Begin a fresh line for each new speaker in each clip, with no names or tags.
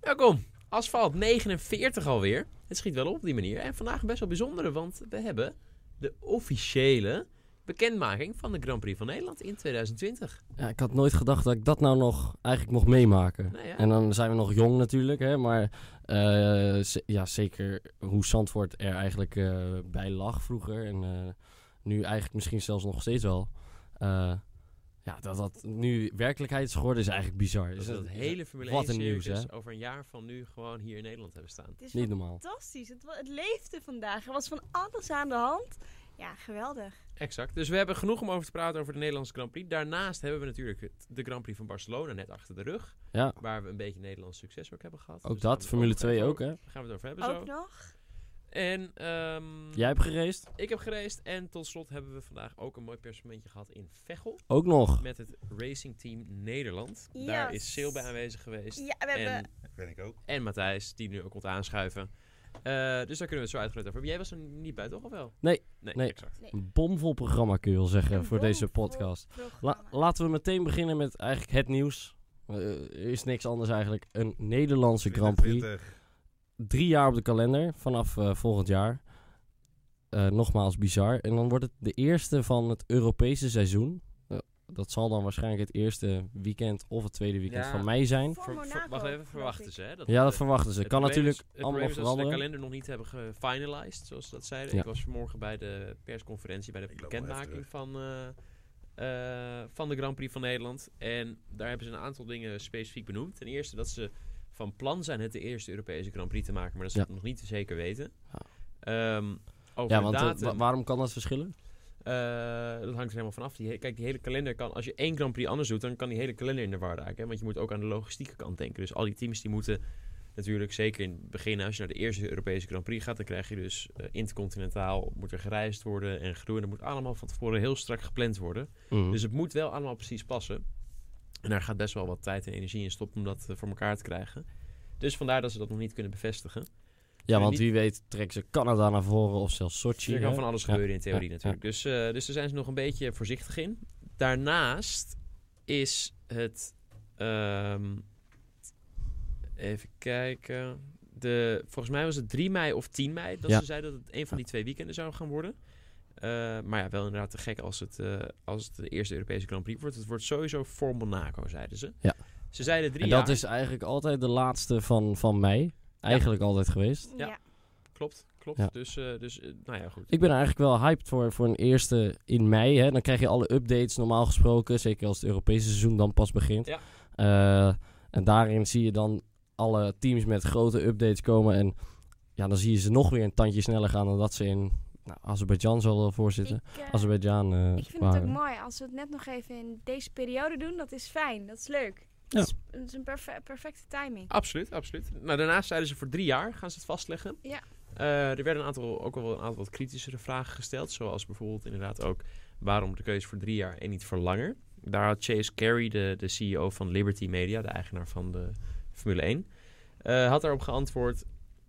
Welkom. Asfalt 49 alweer. Het schiet wel op op die manier. En vandaag best wel bijzondere, want we hebben de officiële bekendmaking van de Grand Prix van Nederland in 2020.
Ja, ik had nooit gedacht dat ik dat nou nog eigenlijk mocht meemaken.
Nou ja.
En dan zijn we nog jong natuurlijk, hè, maar eh, z- ja, zeker hoe Zandvoort er eigenlijk eh, bij lag vroeger. En eh, nu eigenlijk misschien zelfs nog steeds wel. Eh, ja, dat dat nu werkelijkheid is geworden is eigenlijk bizar.
Dat
Is
we Dus dat
dat-
hele Formule
wat
1
een nieuws,
circus over een jaar van nu gewoon hier in Nederland hebben staan.
Het is
Niet normaal.
fantastisch. Het, wa- het leefde vandaag. Er was van alles aan de hand. Ja, geweldig.
Exact. Dus we hebben genoeg om over te praten over de Nederlandse Grand Prix. Daarnaast hebben we natuurlijk het- de Grand Prix van Barcelona net achter de rug.
Ja.
Waar we een beetje Nederlands succes ook hebben gehad.
Ook
Dus daar gaan
dat,
we
Formule
het
2
even
ook, hè?
over- Daar gaan we het over hebben
Ook
zo.
nog.
En ehm,
Jij hebt geraced?
ik heb gereisd. En tot slot hebben we vandaag ook een mooi persmomentje gehad in Veghel.
Ook nog.
Met het Racing Team Nederland. Daar
Yes.
is Sil bij aanwezig geweest.
Ja, we hebben...
En,
Ben ik ook.
en Matthijs, die nu ook komt aanschuiven. Eh, dus daar kunnen we het zo uitgebreid over hebben. Jij was er niet bij, toch? Of wel?
Nee.
Nee,
Nee.
exact.
Een bomvol programma kun je wel zeggen
een
voor deze
bomvol
podcast. La-
programma.
laten we meteen beginnen met eigenlijk het nieuws. Eh, er is niks anders eigenlijk. Een Nederlandse Grand Prix.
2020.
Drie jaar op de kalender vanaf eh, volgend jaar. Eh, nogmaals bizar. En dan wordt het de eerste van het Europese seizoen. Eh, dat zal dan waarschijnlijk het eerste weekend of het tweede weekend
Ja.
van mei zijn.
Voor
Ver- ver-
Monaco,
wacht even,
geloof
verwachten
ik.
ze. Hè? Dat
Ja, dat
eh,
verwachten ze.
het
Dus Kan
probleem
natuurlijk
is- het
allemaal
probleem is dat ze de
veranderen.
kalender nog niet hebben gefinalized, zoals ze dat zeiden.
Ja.
Ik was vanmorgen bij de persconferentie, bij de
Ik loop wel even
bekendmaking van, eh, eh, van de Grand Prix van Nederland. En daar hebben ze een aantal dingen specifiek benoemd. Ten eerste dat ze van plan zijn het de eerste Europese Grand Prix te maken, maar dat ze
Ja.
het nog niet zeker weten.
Ja.
Ehm, over
Ja,
de
want eh,
datum,
wa- waarom kan dat verschillen?
eh, dat hangt er helemaal vanaf. Die he- Kijk, die hele kalender kan, als je één Grand Prix anders doet, dan kan die hele kalender in de war raken. hè, Want je moet ook aan de logistieke kant denken. Dus al die teams die moeten natuurlijk, zeker in het begin, als je naar de eerste Europese Grand Prix gaat, dan krijg je dus eh, intercontinentaal, moet er gereisd worden en groeien. Dat moet allemaal van tevoren heel strak gepland worden.
Mhm.
Dus het moet wel allemaal precies passen. En daar gaat best wel wat tijd en energie in stoppen om dat eh, voor elkaar te krijgen. Dus vandaar dat ze dat nog niet kunnen bevestigen.
ja, want
niet-
wie weet trekken ze Canada naar voren of zelfs Sochi.
Er kan
hè?
van alles
Ja,
gebeuren in theorie
ja,
natuurlijk. Dus, eh, dus daar zijn ze nog een beetje voorzichtig in. Daarnaast is het... ehm, even kijken... De, volgens mij was het 3 mei of 10 mei dat
Ja.
ze zeiden dat het een van die twee weekenden zou gaan worden. Eh, maar ja, wel inderdaad te gek als het, eh, als het de eerste Europese Grand Prix wordt. Het wordt sowieso voor Monaco, zeiden ze.
Ja.
Ze zeiden drie
En dat
jaar.
is eigenlijk altijd de laatste van, van mei. Eigenlijk altijd geweest.
Ja.
Ja.
Klopt, klopt.
Ja.
Dus, eh, dus eh, nou ja, goed.
Ik ben er eigenlijk wel hyped voor, voor een eerste in mei. Hè. Dan krijg je alle updates normaal gesproken. Zeker als het Europese seizoen dan pas begint.
Ja.
Eh, en daarin zie je dan alle teams met grote updates komen. En ja, dan zie je ze nog weer een tandje sneller gaan dan dat ze in nou, Azerbeidzjan zullen
Ik,
voorzitten.
eh,
Azerbeidzjan eh,
ik vind het
waren.
ook mooi. Als we het net nog even in deze periode doen, dat is fijn. Dat is leuk.
Ja.
Dat, is, dat is een perfe- perfecte timing.
Absoluut, absoluut. Nou, daarnaast zeiden ze voor drie jaar gaan ze het vastleggen.
Ja.
Eh, er werden een aantal, ook wel een aantal wat kritischere vragen gesteld. Zoals bijvoorbeeld inderdaad ook waarom de keuze voor drie jaar en niet voor langer. Daar had Chase Carey, de, de CEO van Liberty Media, de eigenaar van de Formule 1, eh, had daarop geantwoord: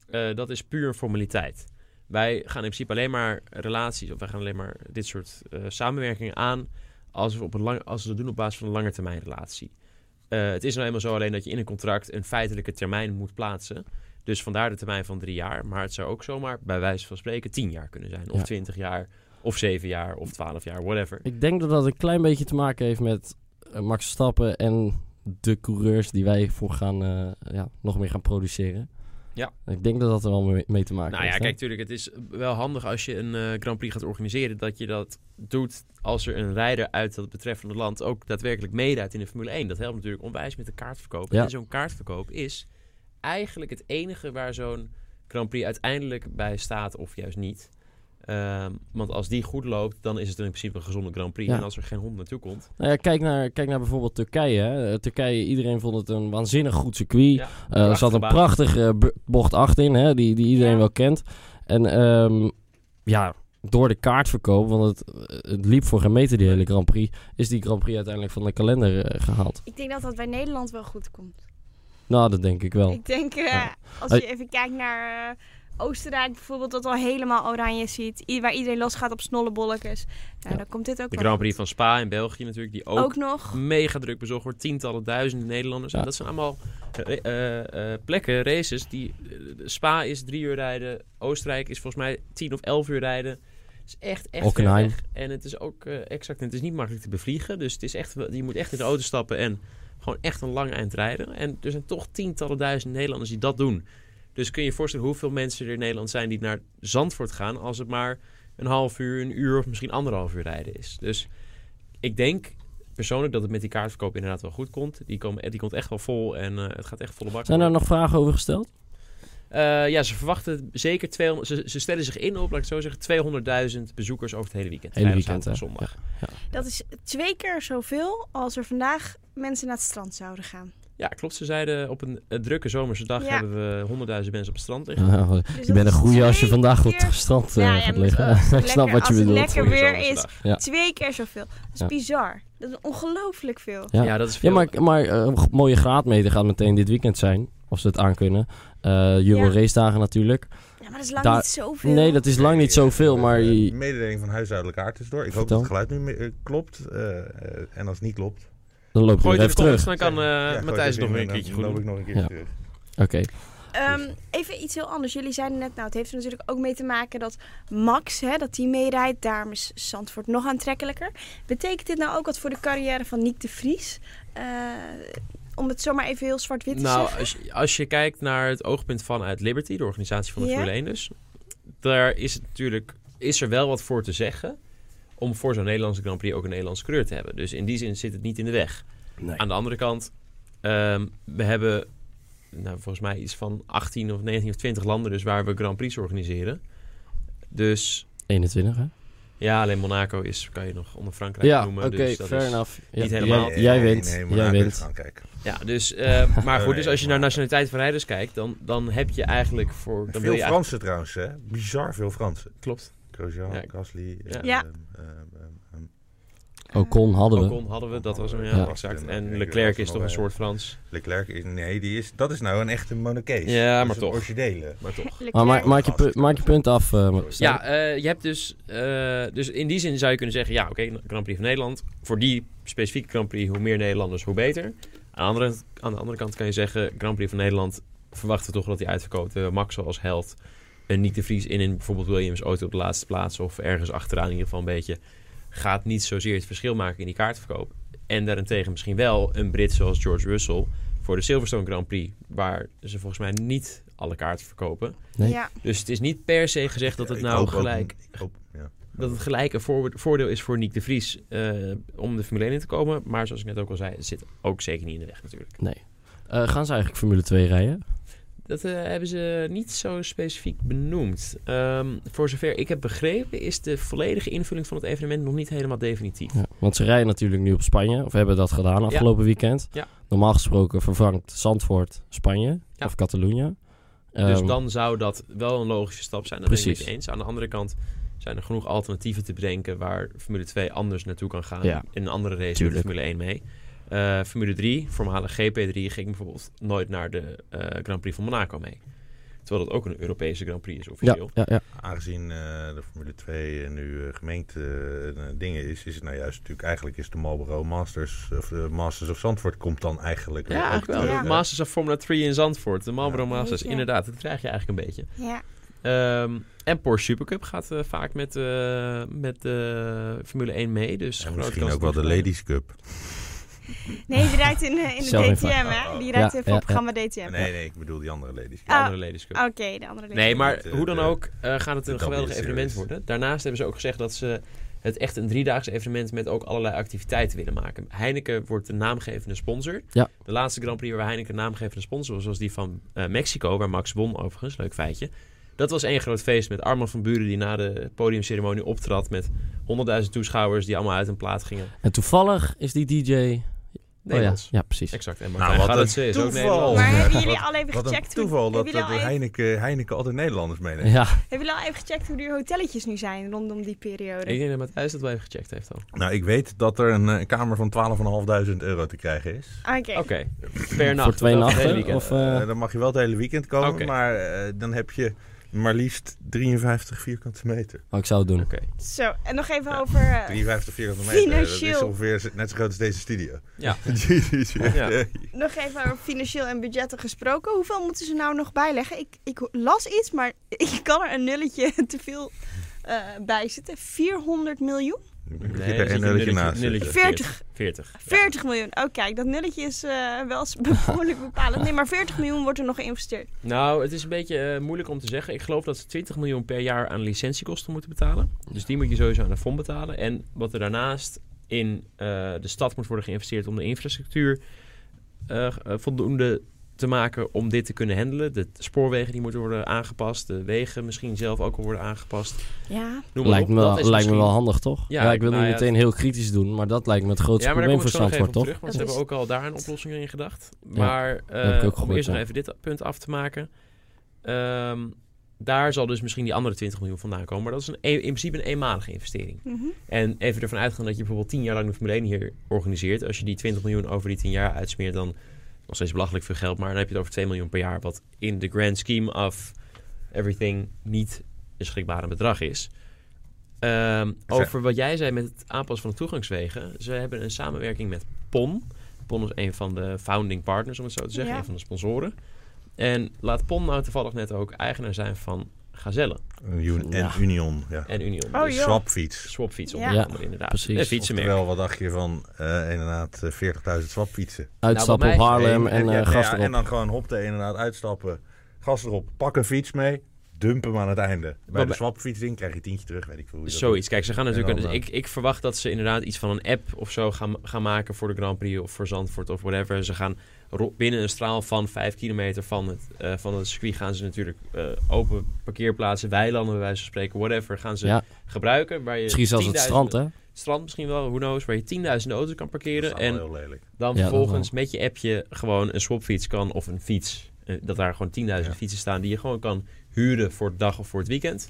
eh, dat is puur een formaliteit. Wij gaan in principe alleen maar relaties, of wij gaan alleen maar dit soort eh, samenwerkingen aan als we, op een lang, als we dat doen op basis van een langetermijnrelatie. Eh, het is nou eenmaal zo alleen dat je in een contract een feitelijke termijn moet plaatsen. Dus vandaar de termijn van drie jaar. Maar het zou ook zomaar, bij wijze van spreken, tien jaar kunnen zijn. Of
Ja.
twintig jaar, of zeven jaar, of twaalf jaar, whatever.
Ik denk dat dat een klein beetje te maken heeft met eh, Max Stappen en de coureurs die wij voor gaan, eh, ja, nog meer gaan produceren.
Ja.
Ik denk dat dat er wel mee, mee te maken
Nou
heeft.
ja,
hè?
kijk, natuurlijk, het is wel handig als je een eh, Grand Prix gaat organiseren... dat je dat doet als er een rijder uit dat betreffende land... ook daadwerkelijk meerijdt in de Formule 1. Dat helpt natuurlijk onwijs met de kaartverkoop.
Ja.
En zo'n kaartverkoop is eigenlijk het enige waar zo'n Grand Prix uiteindelijk bij staat... of juist niet. Ehm, want als die goed loopt, dan is het in principe een gezonde Grand Prix.
Ja.
En als er geen hond naartoe komt...
Nou ja, kijk naar, kijk naar bijvoorbeeld Turkije. Hè. Eh, Turkije, iedereen vond het een waanzinnig goed circuit.
Ja,
Eh, er zat een
baan.
prachtige eh, b- bocht 8 in, hè, die, die iedereen
Ja.
wel kent. En ehm, ja, door de kaartverkoop, want het, eh, het liep voor geen meter die hele Grand Prix, is die Grand Prix uiteindelijk van de kalender eh, gehaald.
Ik denk dat dat bij Nederland wel goed komt.
Nou, dat denk ik wel.
Ik denk, eh,
Ja.
als
Hey.
je even kijkt naar eh, Oostenrijk bijvoorbeeld, dat al helemaal oranje ziet. i- Waar iedereen los gaat op snollebollekes. Nou,
Ja.
dan komt dit ook
De
wel
Grand
goed.
Prix van Spa in België natuurlijk, die ook,
Ook nog.
mega druk bezocht wordt. Tientallen duizenden Nederlanders.
Ja.
En dat zijn allemaal eh, eh, eh, plekken, races. Die, eh, Spa is drie uur rijden. Oostenrijk is volgens mij tien of elf uur rijden. Het is echt, echt ver
Hockenheim.
weg. En het is ook eh, exact, en het is niet makkelijk te bevliegen. Dus het is echt, wel- je moet echt in de auto stappen en gewoon echt een lang eind rijden. En er zijn toch tientallen duizenden Nederlanders die dat doen. Dus kun je je voorstellen hoeveel mensen er in Nederland zijn die naar Zandvoort gaan als het maar een half uur, een uur of misschien anderhalf uur rijden is. Dus ik denk persoonlijk dat het met die kaartverkoop inderdaad wel goed komt. Die, komen, die komt echt wel vol en eh, het gaat echt volle bak.
Zijn er nog vragen over gesteld?
Eh, ja, ze verwachten zeker 200... Ze, ze stellen zich in op, laat ik het zo zeggen, 200.000 bezoekers over het hele weekend.
Hele
Vrijdag,
weekend, hè?
zaterdag, zondag.
Dat is twee keer zoveel als er vandaag mensen naar het strand zouden gaan.
Ja, klopt. Ze zeiden op een, eh, drukke zomerse dag
Ja.
hebben we 100.000 mensen op het strand liggen.
Nou, je
Dus dat
bent een
is
goeie als je
twee
vandaag op
keer-
het strand eh,
Ja, ja,
gaat
maar
liggen.
als het
ik snap wat
lekker-
je
als het
bedoelt.
lekker
Goeie
weer
zomerse
is.
dag.
Ja.
Twee keer zoveel. Dat is
Ja.
bizar. Dat is ongelooflijk veel.
Ja.
Ja. dat is
Ja,
veel.
maar, maar eh, een mooie graadmeter gaat meteen dit weekend zijn. Als ze het aankunnen. Eh Euro
Ja.
race dagen natuurlijk.
Ja, maar dat is lang
Daar-
niet zoveel.
Nee, dat is lang niet zoveel,
Eh,
maar...
eh,
je-
mededeling van huishoudelijk aard is door. Ik hoop
Vertel.
dat het geluid nu me- eh, klopt. eh, eh, en als het niet klopt...
Dan loop je
Gooi
weer
het in
even
de comments,
terug.
dan kan eh,
Ja, gooi
Matthijs
het
nog
even
weer
in
een keertje
en
goed
Dan loop
doen.
ik nog een keertje
Ja.
terug.
Oké.
Ehm, even iets heel anders. Jullie zeiden net, nou, het heeft er natuurlijk ook mee te maken dat Max, hè, dat hij meerijdt. Daarom is Zandvoort nog aantrekkelijker. Betekent dit nou ook wat voor de carrière van Nick de Vries? Eh, om het zomaar even heel zwart-wit te
Nou,
zeggen.
als je, als je kijkt naar het oogpunt vanuit Liberty, de organisatie van de
Ja.
Formule 1 dus, daar is het natuurlijk, is er wel wat voor te zeggen om voor zo'n Nederlandse Grand Prix ook een Nederlandse kleur te hebben. Dus in die zin zit het niet in de weg. Aan de andere kant, ehm, we hebben nou, volgens mij iets van 18 of 19 of 20 landen dus waar we Grand Prix organiseren. Dus
21, hè?
ja, alleen Monaco is, kan je nog onder Frankrijk
Ja,
noemen.
oké,
dus dat
fair
is-
enough. Ja,
niet helemaal. eh,
Jij, jij wint, jij wint.
Kijk.
Ja, dus, eh, maar goed,
Nee,
dus als je naar
maar-
nationaliteit van rijders kijkt, dan, dan heb je eigenlijk voor... Dan wil
Veel
je eigenlijk-
Fransen trouwens, hè? Bizar veel Fransen.
Klopt.
Grosjean,
Ja.
Gasly. eh,
Ja.
Ja.
ehm, ehm, ehm,
Ocon Oh, hadden we.
Ocon hadden we, dat was hem, ja,
Ja.
exact.
Ik
En
denk
Leclerc
dat
is
we
toch
nog
een
wel-
soort Frans.
Leclerc is... Nee, die is, dat is nou een echte monocaise.
Ja,
Dat
maar
is
toch.
Een originele.
Maar toch.
Ah, Maar maak,
Leclerc-
maak, je, pu- maak je punt af. eh,
Sorry.
Stijn.
Ja, eh, je hebt dus... eh, dus in die zin zou je kunnen zeggen... Ja, oké, Grand Prix van Nederland. Voor die specifieke Grand Prix, hoe meer Nederlanders, hoe beter. Aan de andere, aan de andere kant kan je zeggen... Grand Prix van Nederland verwachten we toch dat hij uitverkoopt. Eh, Max als held. En Nick de Vries in een bijvoorbeeld Williams auto op de laatste plaats... of ergens achteraan in ieder geval een beetje... gaat niet zozeer het verschil maken in die kaartverkoop. En daarentegen misschien wel een Brit zoals George Russell... voor de Silverstone Grand Prix... waar ze volgens mij niet alle kaarten verkopen.
Nee.
Ja,
Dus het is niet per se gezegd dat het
Ik
nou
hoop ook-
gelijk,
ik hoop- ja.
dat het gelijk een voor- voordeel is voor Nick de Vries eh, om de Formule 1 in te komen. Maar zoals ik net ook al zei, het zit ook zeker niet in de weg natuurlijk.
Eh, gaan ze eigenlijk Formule 2 rijden?
Dat eh, hebben ze niet zo specifiek benoemd. Ehm, voor zover ik heb begrepen is de volledige invulling van het evenement nog niet helemaal definitief.
Ja, want ze rijden natuurlijk nu op Spanje, of hebben dat gedaan afgelopen weekend.
Ja.
Normaal gesproken vervangt Zandvoort Spanje
Ja.
of Catalonië.
dus
Ehm,
dan zou dat wel een logische stap zijn. Dat ben ik
Precies.
met je eens. Aan de andere kant zijn er genoeg alternatieven te bedenken waar Formule 2 anders naartoe kan gaan.
Ja.
In een andere race doet de
Tuurlijk.
Formule 1 mee. Eh, Formule 3, voormalig GP3, ging bijvoorbeeld nooit naar de eh, Grand Prix van Monaco mee. Terwijl dat ook een Europese Grand Prix is
ja,
officieel.
ja, ja.
Aangezien eh, de Formule 2 nu eh, gemeente eh, dingen is, is het nou juist natuurlijk eigenlijk is de Marlboro Masters of de Masters of Zandvoort komt dan eigenlijk
Ja,
ook
eigenlijk wel.
terug,
Ja.
De
hè?
Masters of Formula 3 in Zandvoort. De Marlboro
Ja.
Masters,
Weet je.
inderdaad. Dat krijg je eigenlijk een beetje.
ja.
Ehm, en Porsche Supercup gaat eh, vaak met, eh, met de Formule 1 mee. Dus
En
grote
misschien
kans
ook wel
dat-
de Ladies Cup.
Nee, die rijdt in, eh, in de
Zelf in
DTM, hè? Die rijdt
Ja,
in
ja, ja.
programma DTM.
Nee, nee, ik bedoel die andere Ladies
De
Cup.
Ah.
andere Ladies Cup.
Oké, de andere
Nee,
leden.
maar
Met, eh,
hoe dan
de-
ook eh, gaat het
de
een geweldig
W-series.
evenement worden. Daarnaast hebben ze ook gezegd dat ze het echt een driedaags evenement met ook allerlei activiteiten willen maken. Heineken wordt de naamgevende sponsor.
Ja.
De laatste Grand Prix waar Heineken naamgevende sponsor was, was die van eh, Mexico, waar Max won overigens. Leuk feitje. Dat was één groot feest met Arman van Buren die na de podiumceremonie optrad met 100.000 toeschouwers die allemaal uit hun plaat gingen.
En toevallig is die DJ... Oh ja,
Nederlands.
Oh, ja, precies.
Exact. En
Nou, wat
Martijn
een
het is ook
toeval.
Nederlands.
Maar hebben
Wat-
jullie al even
Wat een
gecheckt hoe-
toeval dat,
hebben jullie
dat
al even-
Heineken, eh, Heineken altijd Nederlanders meeneemt.
Ja,
Hebben jullie al even gecheckt hoe die hotelletjes nu zijn rondom die periode?
Ik denk dat Matthijs dat wel even gecheckt heeft al.
Nou, ik weet dat er een eh, kamer van 12.500 euro te krijgen is.
Oké.
Oké, per nacht.
voor twee
dat was het hele
nachten.
weekend.
Of, eh,
Eh, dan mag je wel het hele weekend komen,
Oké.
maar eh, dan heb je maar liefst 53 vierkante meter.
Maar oh, ik zou het doen.
Oké.
Zo, en nog even
Ja,
over... eh,
53 vierkante meter, eh, dat is
Financieel.
ongeveer net zo groot als deze studio.
Ja.
Jezus,
Ja.
Nog even over financieel en budgetten gesproken. Hoeveel moeten ze nou nog bijleggen? Ik, ik las iets, maar ik kan er een nulletje te veel eh, bij zitten. 400 miljoen?
Ik
Nee,
heb
dan
er
zit
een
je
nulletje naast.
nulletje
zitten.
40.
40.
40 miljoen. Oh kijk, dat nulletje is eh, wel eens behoorlijk bepalend. Nee, maar 40 miljoen wordt er nog geïnvesteerd.
Nou, het is een beetje eh, moeilijk om te zeggen. Ik geloof dat ze 20 miljoen per jaar aan licentiekosten moeten betalen. Dus die moet je sowieso aan de fonds betalen. En wat er daarnaast in eh, de stad moet worden geïnvesteerd om de infrastructuur eh, eh, voldoende te maken om dit te kunnen handelen. De spoorwegen die moeten worden aangepast. De wegen misschien zelf ook al worden aangepast.
Ja,
Noem maar op.
Lijkt, me,
Dat
wel-
is
lijkt me
misschien-
wel handig, toch?
Ja,
Ja, ik wil
nou
nu
ja,
meteen heel kritisch doen, maar dat lijkt me het grootste
Ja, maar daar
probleem
kom
voor
ik zo nog even
Zandvoort,
op
toch?
terug. Want
Dat
ze hebben
is-
ook al daar een oplossing in gedacht.
Ja,
Maar
heb ik
eh,
ook
om
gehoord,
eerst nog
ja.
even dit punt af te maken. Ehm, daar zal dus misschien die andere 20 miljoen vandaan komen. Maar dat is een, e- in principe een eenmalige investering.
Mhm.
En even ervan uitgaan dat je bijvoorbeeld 10 jaar lang de Formule 1 hier organiseert. Als je die 20 miljoen over die 10 jaar uitsmeert, dan nog steeds belachelijk veel geld. Maar dan heb je het over 2 miljoen per jaar. Wat in de grand scheme of everything niet een schrikbare bedrag is. Ehm, over wat jij zei met het aanpassen van de toegangswegen. Ze hebben een samenwerking met PON. PON is een van de founding partners, om het zo te zeggen.
Ja.
Een van de sponsoren. En laat PON nou toevallig net ook eigenaar zijn van Gazelle
Een Union-
Ja.
En Union, ja.
en Union.
Oh,
Dus
joh.
Swapfiets.
Swapfiets onder
Ja.
andere, inderdaad.
Precies.
Een fietsenmerk.
Terwijl wat dacht je van eh, inderdaad eh, 40.000 swapfietsen?
Uitstappen
Nou, bij
op
mij-
Haarlem
Nee,
en
ja,
eh
ja,
gas erop.
En dan gewoon hop de inderdaad uitstappen. Gas erop, pak een fiets mee, dump hem aan het einde. Bij
Maar
de
bij-
swapfiets ding krijg je tientje terug, weet ik veel hoe je dat
Zoiets. Kijk, ze gaan natuurlijk.
En dan,
dus
eh,
ik, ik verwacht dat ze inderdaad iets van een app of zo gaan, gaan maken voor de Grand Prix of voor Zandvoort of whatever. Ze gaan ro- binnen een straal van 5 kilometer van het, eh, van het circuit gaan ze natuurlijk eh, open parkeerplaatsen, weilanden, bij wijze van spreken, whatever, gaan ze
Ja,
gebruiken. Waar je
misschien zelfs het
10.000
strand, hè?
strand misschien wel, who knows, waar je tienduizenden auto's kan
doet.
parkeren.
Dat is allemaal
En
heel lelijk.
dan
Ja, dat
vervolgens met je appje gewoon een swapfiets kan of een fiets. eh, dat daar gewoon 10.000
Ja.
fietsen staan die je gewoon kan huren voor de dag of voor het weekend.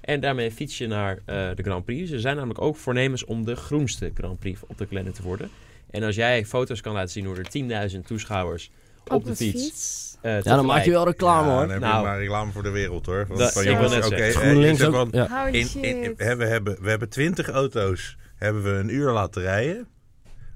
En daarmee fiets je naar eh, de Grand Prix. Ze zijn namelijk ook voornemens om de groenste Grand Prix op de kalender te worden. En als jij foto's kan laten zien hoe er 10.000 toeschouwers op, de fiets. eh,
Ja, dan
tegelijk-
maak je wel reclame,
Ja,
hoor.
Dan heb
Nou.
je maar reclame voor de wereld hoor. Want
Dat-
van
ik wil
jongens,
net
oké,
zeggen.
eh,
GroenLinks
zeg
ook.
maar,
Ja.
Holy
in,
shit.
in, hè, we, hebben, we hebben 20 auto's, hebben we een uur laten rijden.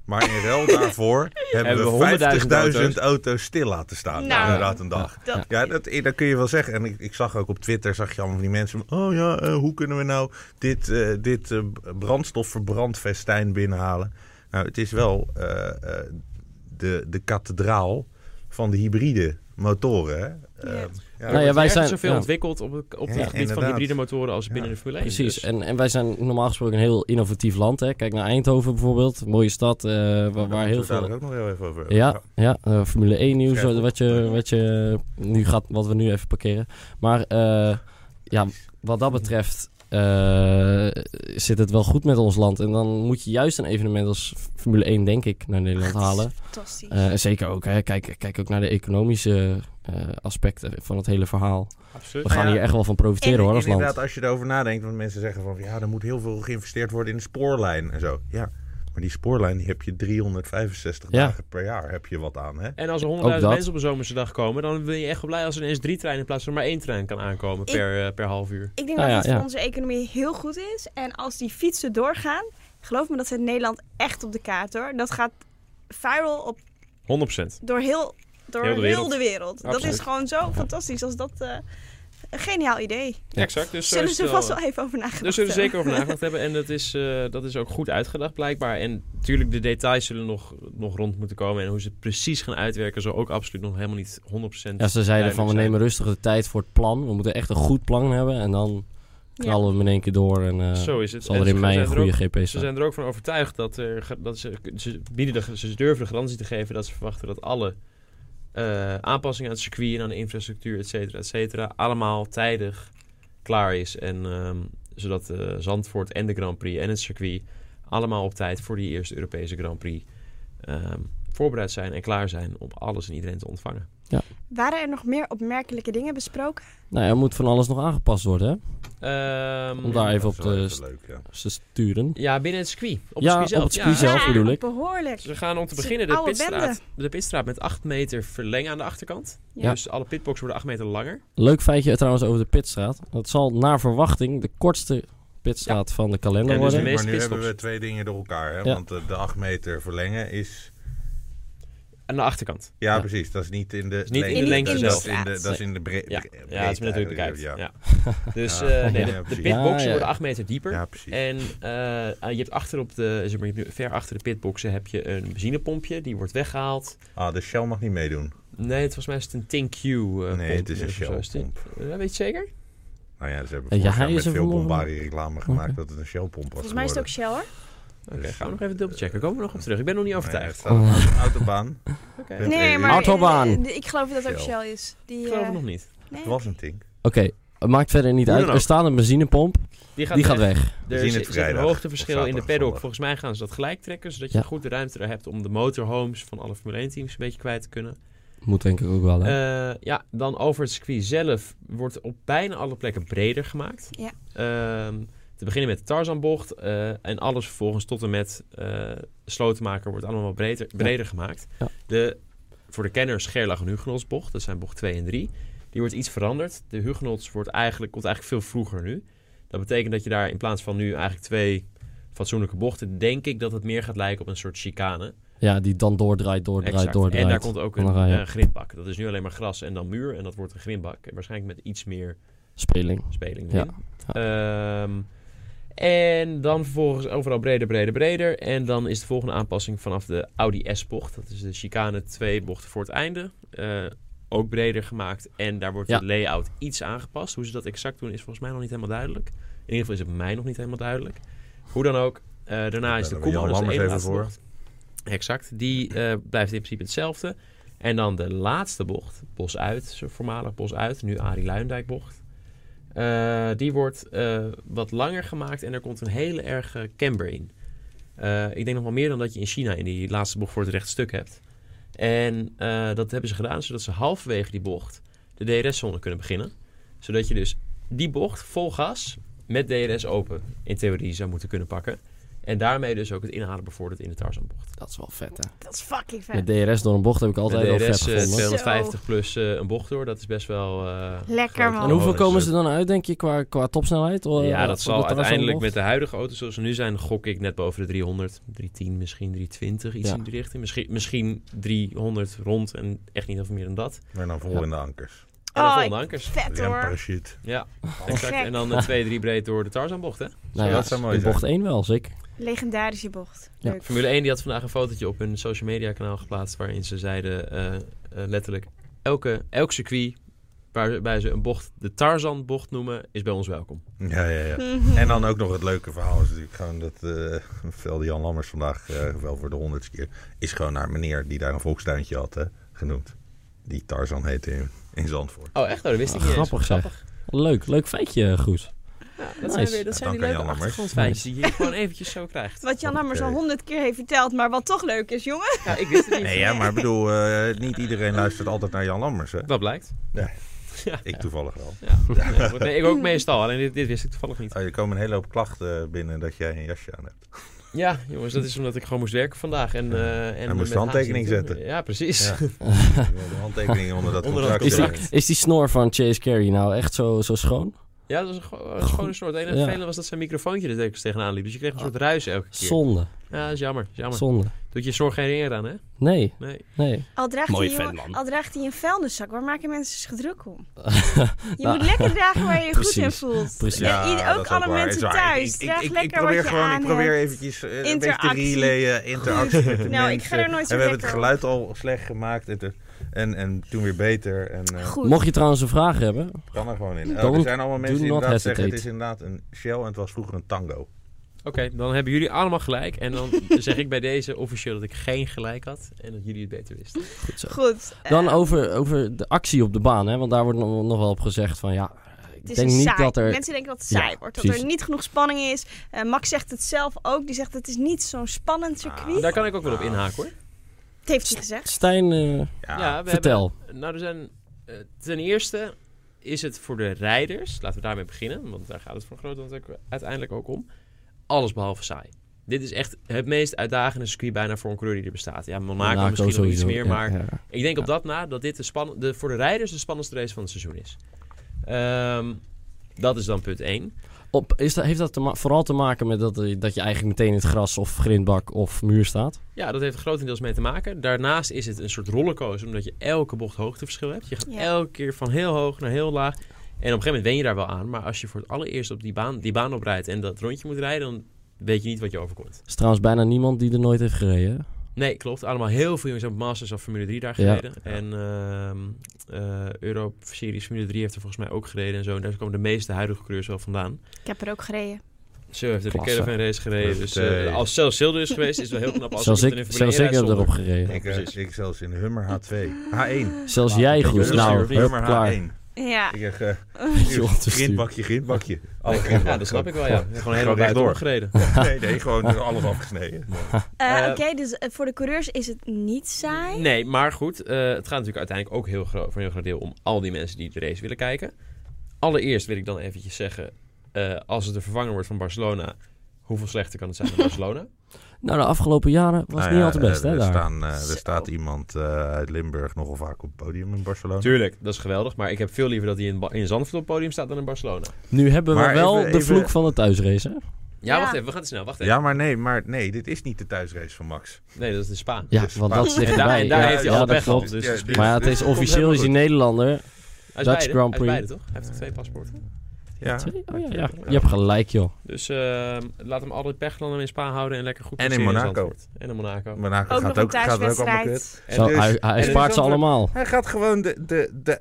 Maar in ruil daarvoor hebben
Hebben we
we 50.000
100.000
auto's.
auto's.
stil laten staan.
Nou.
inderdaad een dag.
Dat
Ja, dat, eh, dat kun je wel zeggen. En ik, ik zag ook op Twitter, zag je allemaal van die mensen. van, Oh ja, eh, hoe kunnen we nou dit, eh dit eh, brandstofverbrandfestijn binnenhalen? Nou, het is wel eh, eh, de, de kathedraal van de hybride motoren. hè.
Ja.
Eh, ja.
Er
Nou ja,
wordt
wij
ergens
zijn-
zoveel
ja.
ontwikkeld op het, op het
Ja,
gebied van
inderdaad.
hybride motoren als
Ja.
binnen de Formule 1.
Precies.
Dus-
En, en wij zijn normaal gesproken een heel innovatief land, hè? Kijk naar Eindhoven bijvoorbeeld. Mooie stad, eh, waar, waar heel
Daar zouden
veel...
we het ook nog heel even over hebben.
Ja, ja eh, Formule 1 nieuws,
Schrijf op.
wat, je, wat, je nu gaat, wat we nu even parkeren. Maar eh, ja, wat dat betreft eh, zit het wel goed met ons land. En dan moet je juist een evenement als Formule 1, denk ik, naar Nederland halen.
fantastisch.
Eh, en zeker ook, hè, kijk, kijk ook naar de economische eh, aspecten van het hele verhaal.
Absoluut.
We gaan
Nou ja.
hier echt wel van profiteren
En
hoor, als land.
Inderdaad, als je erover nadenkt, want mensen zeggen van ja, er moet heel veel geïnvesteerd worden in de spoorlijn en zo. Ja, maar die spoorlijn die heb je 365
Ja.
dagen per jaar heb je wat aan, hè?
En als er
Ook
100.000
dat.
mensen op een zomerse dag komen, dan ben je echt wel blij als er ineens drie treinen in plaats van maar één trein kan aankomen
Ik-
per, eh, per half uur.
Ik denk
Nou
dat
ja,
het
ja.
voor onze economie heel goed is. En als die fietsen doorgaan, geloof me dat zet Nederland echt op de kaart hoor. Dat gaat viral op,
100%.
door heel, door
Heel
heel
de wereld.
de wereld. Dat
Absoluut.
is gewoon zo fantastisch als dat. eh, een geniaal idee.
Ja.
Exact. Dus zo
Zullen
is
ze
het
vast wel even over nagedacht
Daar zullen ze
hebben.
zeker over nagedacht hebben. En dat is, eh, dat is ook goed uitgedacht blijkbaar. En natuurlijk, de details zullen nog, nog rond moeten komen. En hoe ze het precies gaan uitwerken, zal ook absoluut nog helemaal niet 100%.
Ja, ze zeiden van we
Duidelijk
nemen rustig de tijd voor het plan. We moeten echt een goed plan hebben en dan knallen we hem in één keer door. En, eh,
Zo is het.
Zal
En
er in
ze
mei
zijn
een
er
goede
ook-
GP
Ze
staan.
zijn er ook van overtuigd dat, er, ge- dat ze, ze, bieden de, ze durven de garantie te geven dat ze verwachten dat alle eh, aanpassingen aan het circuit en aan de infrastructuur, et cetera, et cetera, allemaal tijdig klaar is. En ehm, zodat eh, Zandvoort en de Grand Prix en het circuit allemaal op tijd voor die eerste Europese Grand Prix ehm, voorbereid zijn en klaar zijn om alles en iedereen te ontvangen.
Waren er nog meer opmerkelijke dingen besproken?
Nou, er moet van alles nog aangepast worden, hè?
Ehm,
Om daar
Ja,
even op
dat is wel
te
even leuk, ja.
Ze sturen.
Ja, binnen het circuit. Op
Ja,
het circuit zelf.
op het circuit zelf.
Ja,
bedoel ik.
Behoorlijk.
Ze gaan om te
Het is
beginnen
een
de
oude
pitstraat, de pitstraat met 8 meter verlengen aan de achterkant.
Ja.
Dus alle pitboxen worden 8 meter langer.
Leuk feitje trouwens over de pitstraat. Dat zal naar verwachting de kortste pitstraat van de kalender
Ja, dus
worden.
de
maar
meeste
nu hebben
pitstops.
we twee dingen door elkaar. Hè?
Ja.
Want eh, de 8 meter verlengen is...
Aan de achterkant.
Ja,
Ja.
precies. Dat is niet in de
is niet in de
dat-
lengte zelf.
dat- Dat is in de, dat is in de bre-
Ja,
bre-
ja dat is
breedte
me natuurlijk
eigenlijk,
bekijkt.
Ja,
Ja. Dus
Ja,
eh,
ja,
nee, de,
ja,
de
precies.
pitboxen
Ja, ja.
worden 8 meter dieper.
Ja, precies.
En eh, eh, je hebt achter op de, zeg maar, je hebt nu ver achter de pitboxen heb je een benzinepompje. Die wordt weggehaald.
Ah, de Shell mag niet meedoen.
Nee, het, volgens mij is het een Tink Q. eh, pomp.
nee, het is een
Of zo is die.
Shell-pomp.
Eh, weet je het zeker?
Nou ja, ze hebben
Ja,
vorig
hij
jaar
is
met
er
veel
vanmorgen.
bombarie reclame gemaakt dat het een Shell-pomp was
Volgens mij is het ook
geworden.
Shell hoor.
Oké,
Dus,
gaan we nog even dubbelchecken. Komen we nog op terug. Ik ben nog niet overtuigd.
Nee, het staat op de autobaan.
Oké.
Nee,
Nee,
eh,
maar
Autobaan.
eh, eh, ik geloof dat het ook
Shell.
Shell is. Die,
Ik geloof
eh,
het nog niet.
nee.
Het was een tink.
Oké, het maakt verder niet
Hoe
uit.
dan
Er
ook.
staat een benzinepomp. Die gaat weg.
Er
zien
zit-
het
zit een
vrijdag, of
hoogteverschil in de
zaterdag,
paddock.
zondag.
Volgens mij gaan ze dat gelijk trekken, zodat
Ja.
je goed de ruimte er hebt om de motorhomes van alle Formule 1 teams een beetje kwijt te kunnen.
Moet denk ik ook wel. Hè?
Eh, ja, dan over het circuit zelf wordt op bijna alle plekken breder gemaakt.
Ja.
Ehm, te beginnen met de Tarzanbocht eh, en alles vervolgens tot en met eh slotenmaker wordt allemaal breder, breder gemaakt.
Ja.
De, voor de kenners Gerlach en Hugenolsbocht, dat zijn bocht 2 en 3, die wordt iets veranderd. De Hugenots wordt eigenlijk, komt eigenlijk veel vroeger nu. Dat betekent dat je daar in plaats van nu eigenlijk twee fatsoenlijke bochten, denk ik dat het meer gaat lijken op een soort chicane.
ja, die dan doordraait, doordraait,
Exact.
doordraait.
En daar komt ook
En
een
dan ga je-
eh, grindbak. Dat is nu alleen maar gras en dan muur. En dat wordt een grindbak. En waarschijnlijk met iets meer
Speling.
speling
Ja.
erin. Ehm, en dan vervolgens overal breder, breder, breder. En dan is de volgende aanpassing vanaf de Audi S-bocht. Dat is de chicane twee bochten voor het einde. Eh, ook breder gemaakt. En daar wordt
Ja.
het layout iets aangepast. Hoe ze dat exact doen is volgens mij nog niet helemaal duidelijk. In ieder geval is het mij nog niet helemaal duidelijk. Hoe dan ook. eh, daarna
bellen
is de
we
Koemo,
Jan
dat is de
Lammers
ene
even
laatste
voor.
bocht. Exact. Die eh, blijft in principe hetzelfde. En dan de laatste bocht, Bos Uit, zo voormalig Bos Uit, nu Arie Luindijk bocht. Eh, die wordt eh, wat langer gemaakt en er komt een hele erge camber in. Eh, ik denk nog wel meer dan dat je in China in die laatste bocht voor het rechte stuk hebt. En eh, dat hebben ze gedaan zodat ze halverwege die bocht de DRS-zone kunnen beginnen. Zodat je dus die bocht vol gas met DRS open in theorie zou moeten kunnen pakken. En daarmee dus ook het inhalen bevordert in de Tarzanbocht.
Dat is wel vet, hè?
Dat is fucking vet.
Met DRS door een bocht heb ik altijd wel
Met
vet
DRS eh,
gevonden.
twee-
250 plus eh, een bocht door, dat is best wel... eh,
Lekker,
groot.
man.
En hoeveel
Oh,
komen
dus,
ze dan uit, denk je, qua, qua topsnelheid? O-
Ja, dat zal
eh, op de Tarzanbocht?
uiteindelijk met de huidige auto's zoals ze nu zijn, gok ik net boven de 300. 310, misschien 320, iets
Ja.
in die richting. Misschien, misschien 300 rond en echt niet heel veel meer dan dat.
Maar dan vol
Ja.
in de ankers.
En dan
Oh,
volgende ankers.
Vet
Weer een
hoor.
parachute.
Ja, exact.
Gek.
En dan eh, 2-3 breed door de Tarzanbocht, hè?
Nou
dat zou mooi
in
zijn.
bocht 1 wel, zeker.
Legendarische bocht.
Ja.
Leuk.
Formule 1 die had vandaag een fotootje op hun social media kanaal geplaatst... waarin ze zeiden eh, eh, letterlijk... Elke, elk circuit waarbij ze een bocht de Tarzanbocht noemen, is bij ons welkom.
Ja, ja, ja.
Mhm.
En dan ook nog het leuke verhaal is natuurlijk gewoon dat eh velde Jan Lammers vandaag, eh, wel voor de honderdste keer, is gewoon naar meneer die daar een volkstuintje had hè, genoemd. Die Tarzan heette in, in Zandvoort.
Oh, echt? Oh, dat wist ik
Ah,
niet
eh,
eens.
grappig zeg. Leuk, leuk feitje, Goed.
Ja, dat
Nice.
zijn, weer, dat
Ja,
zijn die
dank aan
leuke
Jan Lammers.
achtergrondfeitjes die je gewoon eventjes zo krijgt.
Wat Jan
Oké.
Lammers al honderd keer heeft verteld, maar wat toch leuk is, jongen.
Ja, ik wist het niet.
Nee, ja, maar ik bedoel, eh, niet iedereen luistert altijd naar Jan Lammers. Hè?
Dat blijkt.
Ik toevallig wel.
Ja. Ja, goed. Nee, ik ook meestal, alleen dit, dit wist ik toevallig niet.
Oh, er komen een hele hoop klachten binnen dat jij een jasje aan hebt.
Ja, jongens, dat is omdat ik gewoon moest werken vandaag. En, eh, en
Hij moest
met
de handtekening
haast niet-
zetten.
Ja, precies.
Ja. Ik wil De handtekeningen onder dat
Onder dat
contract.
Is die,
zetten.
is die snor van Chase Carey nou echt zo, zo schoon?
Ja, dat was een, go- een schone snor. Het enige
Ja.
vervelende was dat zijn microfoontje er telkens tegenaan liep. Dus je kreeg een soort ruis elke keer.
Zonde,
Ja, dat is jammer. is jammer.
zonde.
Doet je snor geen ringen aan, hè?
Nee,
Nee.
nee.
Al draagt,
Mooie
hij, jongen-
fan, man.
al draagt hij een vuilniszak, waar maken mensen zich druk om? Je
Nou,
moet lekker dragen waar je je goed in
precies,
voelt.
precies.
Ja, ieder-
dat
ook
is
alle
waar,
mensen
dat is waar.
thuis.
Ik- ik-
Draag
ik-
lekker
ik probeer
wat je
gewoon,
aan
Ik probeer
hebt.
eventjes eh, een beetje te
Interactie.
relayen, eh, interactie met de
Nou, ik
mensen.
ga er nooit zo
En we hebben
gek
het geluid al slecht gemaakt en, te- en, en toen weer beter. En eh,
Goed.
Mocht je trouwens een vraag hebben,
kan er gewoon in. Oh,
Don't-
er zijn allemaal
do
mensen die
not
inderdaad zeggen, het
hesitate.
is inderdaad een Shell en het was vroeger een Tango.
Oké, dan hebben jullie allemaal gelijk. En dan zeg ik bij deze officieel dat ik geen gelijk had. En dat jullie het beter wisten.
goed zo.
Goed. eh,
Dan over, over de actie op de baan, hè? want daar wordt nog, nog wel op gezegd van ja,
het
ik
is
denk
een
niet
saai.
dat er...
Mensen denken dat het saai
Ja,
wordt. Dat
precies.
er niet genoeg spanning is. Eh, Max zegt het zelf ook. Die zegt het is niet zo'n spannend circuit.
Ah.
Daar kan ik ook wel op inhaken, hoor.
Dat heeft hij gezegd.
Stijn, eh,
Ja,
we
vertel.
hebben- nou, er zijn, eh, ten eerste is het voor de rijders, laten we daarmee beginnen, want daar gaat het voor een groot deel natuurlijk uiteindelijk ook om, alles behalve saai. Dit is echt het meest uitdagende circuit bijna voor een coureur die er bestaat. Ja, Monaco
Monaco
misschien nog iets
sowieso,
meer,
ja,
maar
ja.
ik denk op
Ja.
dat na dat dit de span- de, voor de rijders de spannendste race van het seizoen is. Ehm, dat is dan punt 1.
Op, is dat, heeft dat te ma- vooral te maken met dat, eh, dat je eigenlijk meteen in het gras of grindbak of muur staat?
Ja, dat heeft er grotendeels mee te maken. Daarnaast is het een soort rollercoaster, omdat je elke bocht hoogteverschil hebt. Je gaat
Ja.
elke keer van heel hoog naar heel laag. En op een gegeven moment wen je daar wel aan. Maar als je voor het allereerst op die baan, die baan oprijdt en dat rondje moet rijden, dan weet je niet wat je overkomt.
Er is trouwens bijna niemand die er nooit heeft gereden. hè?
Nee, klopt. Allemaal heel veel jongens hebben Masters of Formule 3 daar
Ja.
gereden. En ehm eh Euro Series Formule 3 heeft er volgens mij ook gereden en zo. En daar komen de meeste huidige coureurs wel vandaan.
Ik heb er ook gereden.
Zo heeft er de
Klasse.
Caravan Race gereden. Dus eh,
Oké.
als zelfs Zilde is geweest, is het wel heel knap. Als
Zelfs
iemand
ik,
in een Formule
zelfs
1
ik heb
rijdt
erop
zonder.
gereden.
Ik, eh,
precies.
ik zelfs in Hummer H2. H1.
Zelfs
Laat
jij
het
goed.
gebeuren.
Nou, hup,
Hummer
klaar.
H1.
Ja.
Ik zeg, eh,
Joh, het is
grindbakje, grindbakje.
Oh,
Alle
Ja,
Oh,
grindbakken.
dat snap ik wel, ja. Gewoon helemaal
Gewoon
buiten
rechtdoor.
omgereden.
Nee, nee, gewoon eh, alles afgesneden.
Eh,
Eh,
Oké, dus eh, voor de coureurs is het niet saai.
Nee, maar goed. eh, het gaat natuurlijk uiteindelijk ook heel groot, voor een heel groot deel om al die mensen die de race willen kijken. Allereerst wil ik dan eventjes zeggen, eh, als het de vervanger wordt van Barcelona, hoeveel slechter kan het zijn dan Barcelona?
Nou, de afgelopen jaren was
Nou
niet
ja,
al te best,
eh,
hè,
er
daar.
Staan, eh,
Zo.
er staat iemand eh, uit Limburg nogal vaak op het podium in Barcelona.
Tuurlijk, dat is geweldig, maar ik heb veel liever dat hij in, Ba- in Zandvoort op het podium staat dan in Barcelona.
Nu hebben we
Maar
wel
even-
de
even-
vloek van de thuisrace, hè?
Ja,
Ja.
wacht even, we gaan te snel, wacht even.
Ja, maar nee, maar nee, dit is niet de thuisrace van Max.
Nee, dat is de Spaan.
Ja,
Dus-
want dat is
En daar-
dichterbij.
en daar
ja,
heeft hij al
ja, dat
pech gehad,
klopt.
dus-
Ja, dit-
Maar ja, het
dit
is
komt
officieel is hij
helemaal
Nederlander.
Hij is
Dutch
beide, hij is
Grand Prix.
beide, toch? Hij heeft toch twee paspoorten?
goed. Ja.
Twee? Oh ja, ja, je hebt gelijk, joh.
Dus eh, laat hem altijd pech dan in Spaan houden en lekker goed
En in
presteren
Monaco.
Zandvoort. en in Monaco.
Maar nou,
Ook
gaat
nog een
ook, gaat ook allemaal kut.
thuiswedstrijd.
En
Zo,
dus-
hij hij
en
spaart
dus
ze
dan-
allemaal.
Hij gaat gewoon de, de, de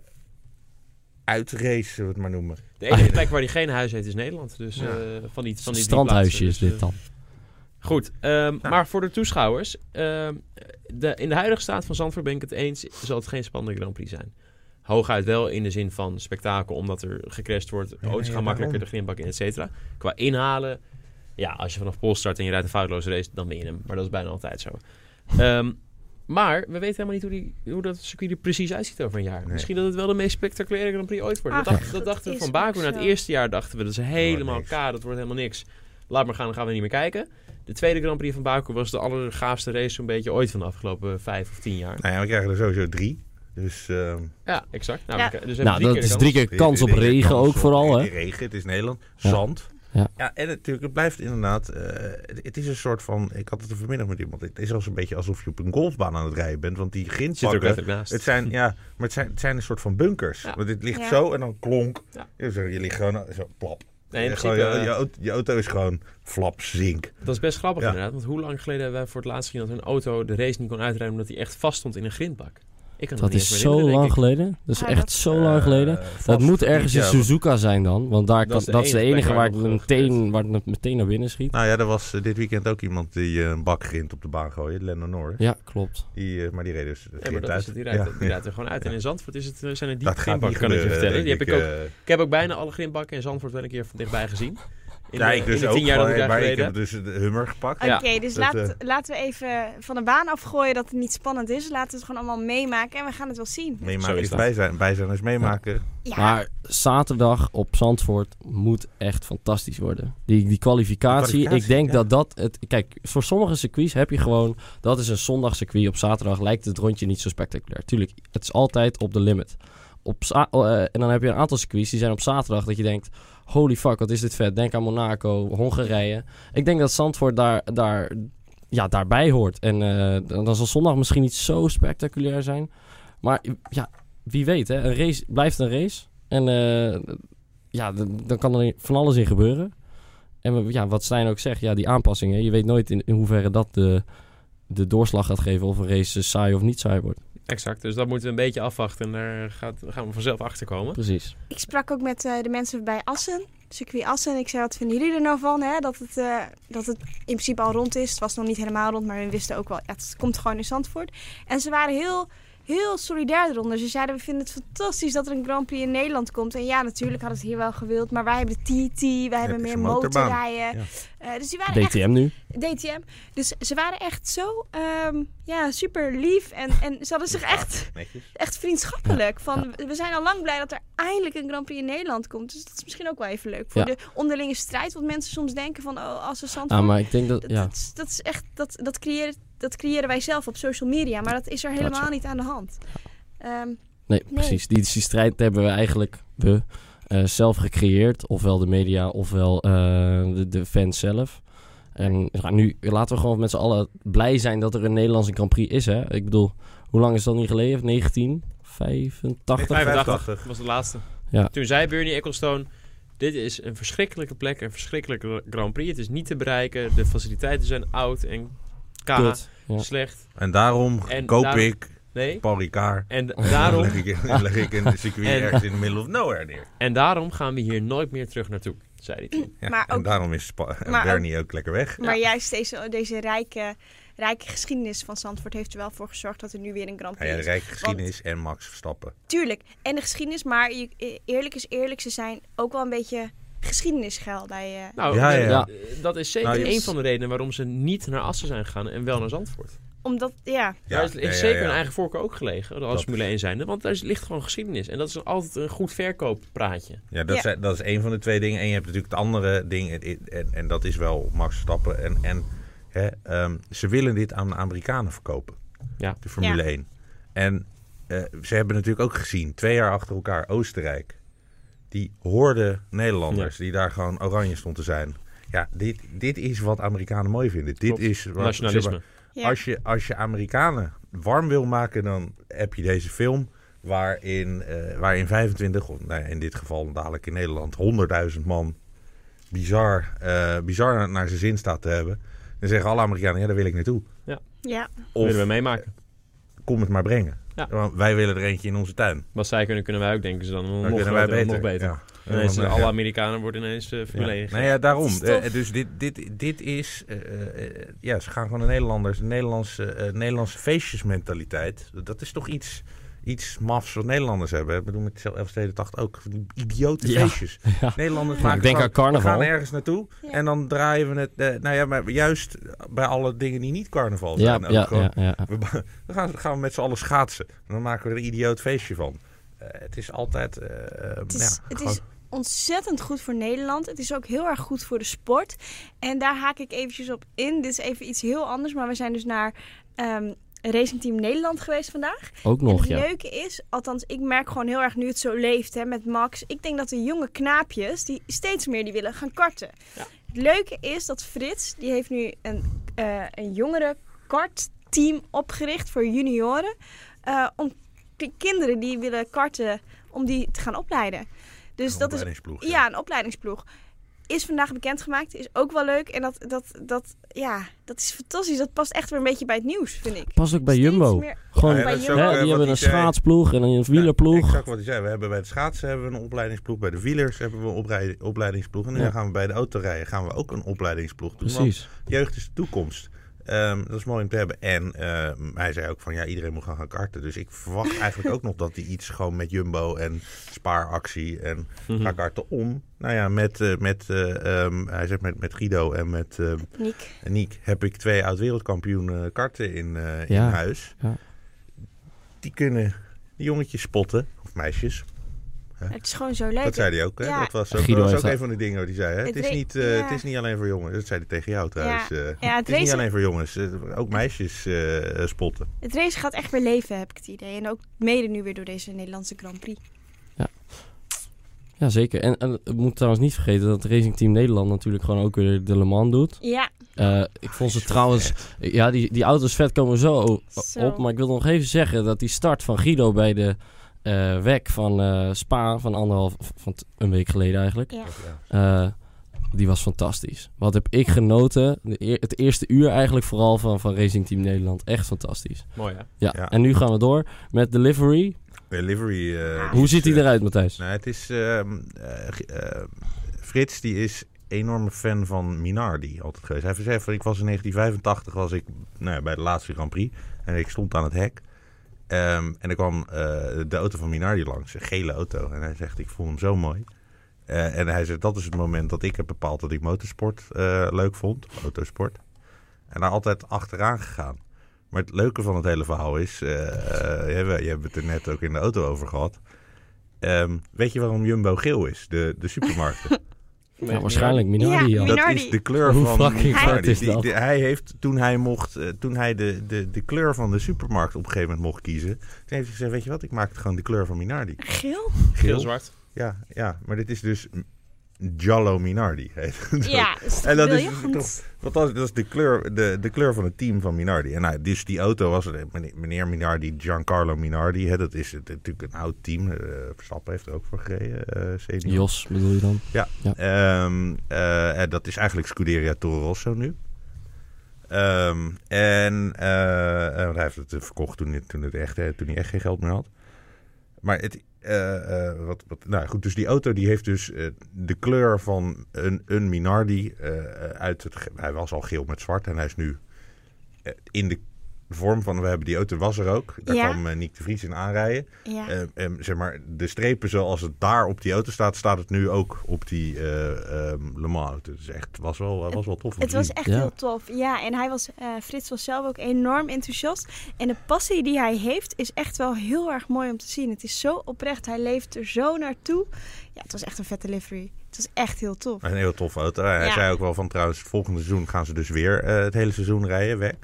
uitrace, zullen we het maar noemen.
De enige plek waar hij geen huis heeft is Nederland. Dus
Ja.
eh, van die, van die drie
Strandhuisje
plaatsen.
is
Dus,
dit dan.
eh, Goed, ehm,
Nou.
maar voor de toeschouwers. ehm, de, in de huidige staat van Zandvoort ben ik het eens. Zal het geen spannende Grand Prix zijn. Hooguit wel in de zin van spektakel, omdat er gecrashed wordt. De
Ja,
auto's
ja,
gaan makkelijker
daarom.
de grindbak in, et cetera. Qua inhalen. Ja, als je vanaf Pol start en je rijdt een foutloze race, dan win je hem. Maar dat is bijna altijd zo. Ehm, maar we weten helemaal niet hoe, die, hoe dat circuit er precies uitziet over een jaar.
Nee.
Misschien dat het wel de meest spectaculaire Grand Prix ooit wordt.
Ach,
dat, dacht- dat
dat
dachten we
is
van Baku.
ook
Na het
zo.
eerste jaar dachten we dat is helemaal
niks.
kaal, dat wordt helemaal niks. Laat maar gaan, dan gaan we niet meer kijken. De tweede Grand Prix van Baku was de allergaafste race zo'n beetje ooit van de afgelopen vijf of tien jaar.
Nou ja, we krijgen er sowieso drie. Dus ehm,
Ja, exact. Nou,
Ja.
we- dus even
Nou,
drie
dat
keer
is
de
drie
kans.
keer kans op
dit- dit- dit-
regen
kans
ook
op
vooral, hè?
Regen, het is Nederland.
Ja.
Zand.
Ja.
Ja. en natuurlijk, het blijft inderdaad... eh, het, het is een soort van... Ik had het er vanmiddag met iemand. Het is als een beetje alsof je op een golfbaan aan het rijden bent. Want die
Zit er ook
grindpakken...
letterlijk naast.
Het zijn, ja, maar het zijn, het zijn een soort van bunkers.
Ja.
Want dit ligt
Ja.
zo en dan klonk.
Ja.
Ja. Zo, je ligt gewoon zo plap.
Nee, in
Ja,
principe,
gewoon, je, je auto, je auto is gewoon flap, zink.
Dat is best grappig
Ja.
inderdaad. Want hoe lang geleden hebben wij voor het laatst gezien dat een auto de race niet kon uitrijden omdat hij echt vast stond in een grindbak? Ik kan het
Dat
niet
is
eens
zo
herinneren, denk
lang
ik.
geleden. Dat is
Ja,
echt
Ah, dat-
zo lang geleden.
Eh, vast
Dat moet ergens in
niet, ja,
Suzuka zijn dan. Want daar
Dat
kan,
is de
dat is de
enige plek
enige
waar
waar het
het nog
meteen,
gebeurt.
waar het meteen naar binnen schiet.
Nou ja, er was eh, dit weekend ook iemand die eh, een bak grind op de baan gooide. Lennon Norris.
Ja, klopt.
Die, eh, maar die reed dus de
Ja, maar
grind
dat
uit.
is het. Die rijdt,
Ja.
die rijdt er gewoon uit. En
Ja.
in Zandvoort is het, eh, zijn er die
Dat gaat
grindbakken,
niet
kan ik je
gebeuren,
vertellen. Die
denk
heb ik ook
eh.
Ik heb ook bijna alle grindbakken in Zandvoort wel een keer van dichtbij gezien. In,
ja,
de-
ik dus
in de
ook.
tien jaar dat ik daar
maar ik
gereden
heb
heb.
dus de hummer gepakt.
Ja.
Oké, dus
Dat,
laat,
eh,
laten we even van de baan afgooien dat het niet spannend is. Laten we het gewoon allemaal meemaken en we gaan het wel zien.
Zo
Meemaken
is
is
dat.
bij zijn. Bij zijn is meemaken.
Ja,
Maar zaterdag op Zandvoort moet echt fantastisch worden. Die, die kwalificatie,
De kwalificatie,
ik denk
ja.
dat dat... Het, kijk, voor sommige circuits heb je gewoon... Dat is een zondagcircuit. Op zaterdag lijkt het rondje niet zo spectaculair. Tuurlijk, het is altijd op de limit. Op za- eh, en dan heb je een aantal circuits die zijn op zaterdag dat je denkt... Holy fuck, wat is dit vet. Denk aan Monaco, Hongarije. Ik denk dat Zandvoort daar, daar, ja, daarbij hoort. En eh, dan dan zal zondag misschien niet zo spectaculair zijn. Maar ja, wie weet, hè? een race blijft een race. En eh, ja, d- dan kan er van alles in gebeuren. En we- ja, wat Stijn ook zegt, ja, die aanpassingen. Je weet nooit in, in hoeverre dat de, de doorslag gaat geven of een race eh, saai of niet saai wordt.
Exact, dus dat moeten we een beetje afwachten. En daar gaat, gaan we vanzelf achter komen.
Precies.
ik sprak ook met eh, de mensen bij Assen, circuit Assen. Ik zei, wat vinden jullie er nou van? Hè? Dat, het, eh, dat het in principe al rond is. Het was nog niet helemaal rond, maar we wisten ook wel, ja, het komt gewoon in Zandvoort. En ze waren heel heel solidair eronder. Ze zeiden, we vinden het fantastisch dat er een Grand Prix in Nederland komt. En ja, natuurlijk hadden ze het hier wel gewild. Maar wij hebben de TT, wij hebben
je
meer
zo'n motorbaan.
motorrijden.
Ja.
Eh, dus die waren echt
DTM nu.
DTM. Dus ze waren echt zo ehm, ja, super lief. En, en ze hadden zich echt,
Netjes.
echt vriendschappelijk. Van, we zijn al lang blij dat er eindelijk een Grand Prix in Nederland komt. Dus dat is misschien ook wel even leuk voor
Ja.
de onderlinge strijd. Want mensen soms denken van, oh, als ze Zandvoort...
Ah, maar ik denk dat...
dat,
Ja.
dat, is- dat is echt, dat, dat, creëren, dat creëren wij zelf op social media. Maar dat is er helemaal niet aan de hand. Ehm,
Nee, precies. Die, die strijd hebben we eigenlijk we, eh, zelf gecreëerd. Ofwel de media, ofwel eh, de, de fans zelf. En ja, nu laten we gewoon met z'n allen blij zijn dat er een Nederlandse Grand Prix is. Hè? Ik bedoel, hoe lang is dat niet geleden? 1985?
85
85.
was de laatste.
Ja.
Toen zei Bernie Ecclestone... Dit is een verschrikkelijke plek, een verschrikkelijke Grand Prix. Het is niet te bereiken. De faciliteiten zijn oud en k,
Kut. Ja.
slecht.
En daarom
En
koop
daarom-
ik
Nee.
Paul Ricard.
En
Daarom
daarom,
leg ik, leg ik een circuit
En-
ergens in the middle of nowhere neer.
en daarom gaan we hier nooit meer terug naartoe, zei hij toen.
Ja,
Maar
en
ook-
daarom is Spa- en
maar ook-
Bernie ook lekker weg.
Maar juist deze, deze rijke, rijke geschiedenis van Zandvoort heeft er wel voor gezorgd dat er nu weer een Grand
Ja,
Prix
ja, de
is.
rijke geschiedenis en Max Verstappen.
Tuurlijk, en de geschiedenis, maar je- e, eerlijk is eerlijk, ze zijn ook wel een beetje geschiedenisgeil bij... eh
Nou,
Ja, ja,
ja.
eh, dat is zeker
Nou, je-
een van de redenen waarom ze niet naar Assen zijn gegaan en wel naar Zandvoort.
omdat, ja,
Daar is,
ja,
heeft
ja,
zeker
ja.
een eigen voorkeur ook gelegen, als
Dat-
Formule 1 zijnde. Want daar ligt gewoon geschiedenis. En dat is altijd een goed verkooppraatje.
Ja, dat,
Ja.
Zijn, dat is één van de twee dingen. En je hebt natuurlijk het andere ding. En, en, en dat is wel Max Verstappen. En, en hè, ehm, ze willen dit aan de Amerikanen verkopen.
Ja.
De Formule
Ja.
1. En eh, ze hebben natuurlijk ook gezien, twee jaar achter elkaar, Oostenrijk. Die hoorden Nederlanders die daar gewoon oranje stond te zijn. Ja, dit, dit is wat Amerikanen mooi vinden. Dit
Klopt.
is wat, zeg
Nationalisme.
maar,
ja.
als, je, als je Amerikanen warm wil maken, dan heb je deze film. Waarin, eh, waarin 25, of nou ja, in dit geval dadelijk in Nederland, 100.000 man bizar, eh, bizar naar, naar zijn zin staat te hebben. Dan zeggen alle Amerikanen, ja, daar wil ik naartoe.
ja.
Dat
Of
willen we meemaken.
kom het maar brengen.
Ja.
Want wij willen er eentje in onze tuin.
Wat zij kunnen, kunnen wij ook, denken ze dan. Nog,
Dan kunnen wij
groter,
beter.
nog beter.
Ja.
Ineens,
Ja.
eh, alle Amerikanen worden ineens eh, Formule 1
Ja.
gegaan.
Nou ja, daarom.
Dat is tof.
Eh, dus dit, dit, dit is... eh, eh, eh, ja, ze gaan gewoon de Nederlanders, de Nederlandse, eh, Nederlandse feestjesmentaliteit. Dat is toch iets, iets mafs wat Nederlanders hebben. Ik bedoel, met 1188 ook. Van die idiote
Ja.
feestjes.
Ja.
Nederlanders
Maar
maken
ik denk aan
gewoon- we gaan
carnaval.
ergens naartoe
Ja.
en dan draaien we het... eh, nou ja, maar juist bij alle dingen die niet carnaval
Ja,
zijn. ook
ja,
gewoon-
ja, ja.
we, ba- dan gaan, gaan we met z'n allen schaatsen. En dan maken we er een idioot feestje van. Eh, het is altijd... eh,
Het is,
ja,
het
gewoon-
is ontzettend goed voor Nederland. Het is ook heel erg goed voor de sport. En daar haak ik eventjes op in. Dit is even iets heel anders, maar we zijn dus naar ehm, Racing Team Nederland geweest vandaag.
Ook nog,
en het
ja.
leuke is, althans ik merk gewoon heel erg nu het zo leeft hè, met Max. Ik denk dat de jonge knaapjes, die steeds meer die willen gaan karten.
Ja.
Het leuke is dat Frits, die heeft nu een, eh een jongere kartteam opgericht voor junioren. eh, om ki- kinderen die willen karten, om die te gaan opleiden. Dus
een
dat is
opleidingsploeg,
ja, een opleidingsploeg. Is vandaag bekendgemaakt, is ook wel leuk. En dat, dat, dat, ja, dat is fantastisch. Dat past echt weer een beetje bij het nieuws, vind ik.
Pas ook bij
Steeds
Jumbo.
meer-
Gewoon,
Ja,
bij
dat is
hè,
ook,
Jumbo.
eh, wat
die hebben
hij
een
zei.
schaatsploeg en een wielerploeg.
Exact Nou, wat hij zei. We hebben bij het schaatsen hebben we een opleidingsploeg. Bij de wielers hebben we een oprij- opleidingsploeg. En nu
Ja.
gaan we bij de autorijden gaan we ook een opleidingsploeg doen. Want
Precies.
jeugd is de toekomst. Ehm, dat is mooi om te hebben. En ehm, hij zei ook van ja, iedereen moet gaan gaan karten. Dus ik verwacht eigenlijk ook nog dat hij iets gewoon met Jumbo en spaaractie en
Mhm.
Hm.
ga karten om. Nou ja, met, eh, met, eh, ehm, hij zegt met, met Guido en met ehm,
Niek.
en Niek heb ik twee oud-wereldkampioenen karten in, eh,
Ja,
in huis.
ja.
Die kunnen die jongetjes spotten, of meisjes.
Het is gewoon zo leuk.
Dat zei hij ook. Hè?
Ja.
Dat was ook,
Guido
dat was
heeft
ook
dat-
een van de dingen die hij zei. Hè?
Het
Het, is
re-
niet, eh,
ja.
het is niet alleen voor jongens. Dat zei hij tegen jou trouwens. eh.
Ja,
het
het
is niet
racen,
alleen voor jongens. Eh, Ook meisjes eh, eh, spotten.
het racen gaat echt weer leven, heb ik het idee. En ook mede nu weer door deze Nederlandse Grand Prix.
Ja, zeker. En, en we moeten trouwens niet vergeten dat Racing Team Nederland natuurlijk gewoon ook weer de Le Mans doet.
Ja,
Eh, ik vond ze trouwens... Ja, die, die auto's vet komen zo, o-
Oh,
Zo.
op. Maar ik wil nog even zeggen dat die start van Guido bij de eh WEC van eh, Spa... van anderhalf... van t- een week geleden eigenlijk.
ja.
eh, die was fantastisch. Wat heb ik genoten. De eer- het eerste uur eigenlijk vooral van, van Racing Team Nederland. Echt fantastisch.
Mooi, hè?
Ja,
Ja.
en nu gaan we door met delivery.
Delivery. eh,
Hoe
is,
ziet die
eh,
eruit, Matthijs?
Nou, het is... ehm, eh, G- eh, Frits die is enorme fan van Minardi altijd geweest. Hij zegt van, ik was in 1985 was ik, nou, ja, bij de laatste Grand Prix. En ik stond aan het hek. Eh, Ehm, en er kwam eh, de auto van Minardi langs, een gele auto. En hij zegt, ik vond hem zo mooi. Eh, en hij zegt, dat is het moment dat ik heb bepaald dat ik motorsport eh, leuk vond. of Autosport. En daar altijd achteraan gegaan. Maar het leuke van het hele verhaal is, eh eh, je, hebt, je hebt het er net ook in de auto over gehad. Ehm, weet je waarom Jumbo geel is, de, de supermarkt?
Ja, waarschijnlijk Minardi
Ja,
al.
Dat
Minardi.
is de kleur
Hoe
van
fucking
Minardi.
vet is
Die-
dat?
die- hij heeft, toen hij, mocht, eh, toen hij de, de, de kleur van de supermarkt op een gegeven moment mocht kiezen... Toen heeft hij gezegd, weet je wat, ik maak het gewoon de kleur van Minardi.
Geel?
Geel-zwart.
Ja, ja, maar dit is dus Giallo Minardi. heet het.
Ja, dat is
En dat is
briljant.
toch- Want dat, is- dat is de kleur, de, de kleur van het team van Minardi. En nou, dus die auto was er, meneer- meneer Minardi, Giancarlo Minardi. Hè, dat is het- natuurlijk een oud team. Eh, Verstappen heeft er ook voor gereden, eh senior.
Jos bedoel je dan?
Ehm, eh, eh, dat is eigenlijk Scuderia Toro Rosso nu. Ehm, en eh, eh, want hij heeft het eh, verkocht toen, het- toen, het echt, eh, toen hij echt geen geld meer had. Maar het, eh, eh, wat, wat, nou goed, dus die auto die heeft dus eh, de kleur van een, een Minardi eh, eh, uit het. ge- Hij was al geel met zwart en hij is nu eh, in de vorm van. We hebben die auto was er ook. Daar
Ja.
kwam eh, Nick de Vries in aanrijden.
Ja.
Ehm, ehm, zeg maar, de strepen zoals het daar op die auto staat, staat het nu ook op die eh ehm Le Mans auto. Dus echt, was wel, was wel tof. om
Het
te
was
zien.
echt
Ja.
heel tof. Ja, en hij was, eh, Frits was zelf ook enorm enthousiast. En de passie die hij heeft is echt wel heel erg mooi om te zien. Het is zo oprecht. Hij leeft er zo naartoe. Ja, het was echt een vette livery. Het was echt heel tof.
Een heel toffe auto. En Hij
Ja.
zei ook wel van trouwens, volgende seizoen gaan ze dus weer eh, het hele seizoen rijden weg.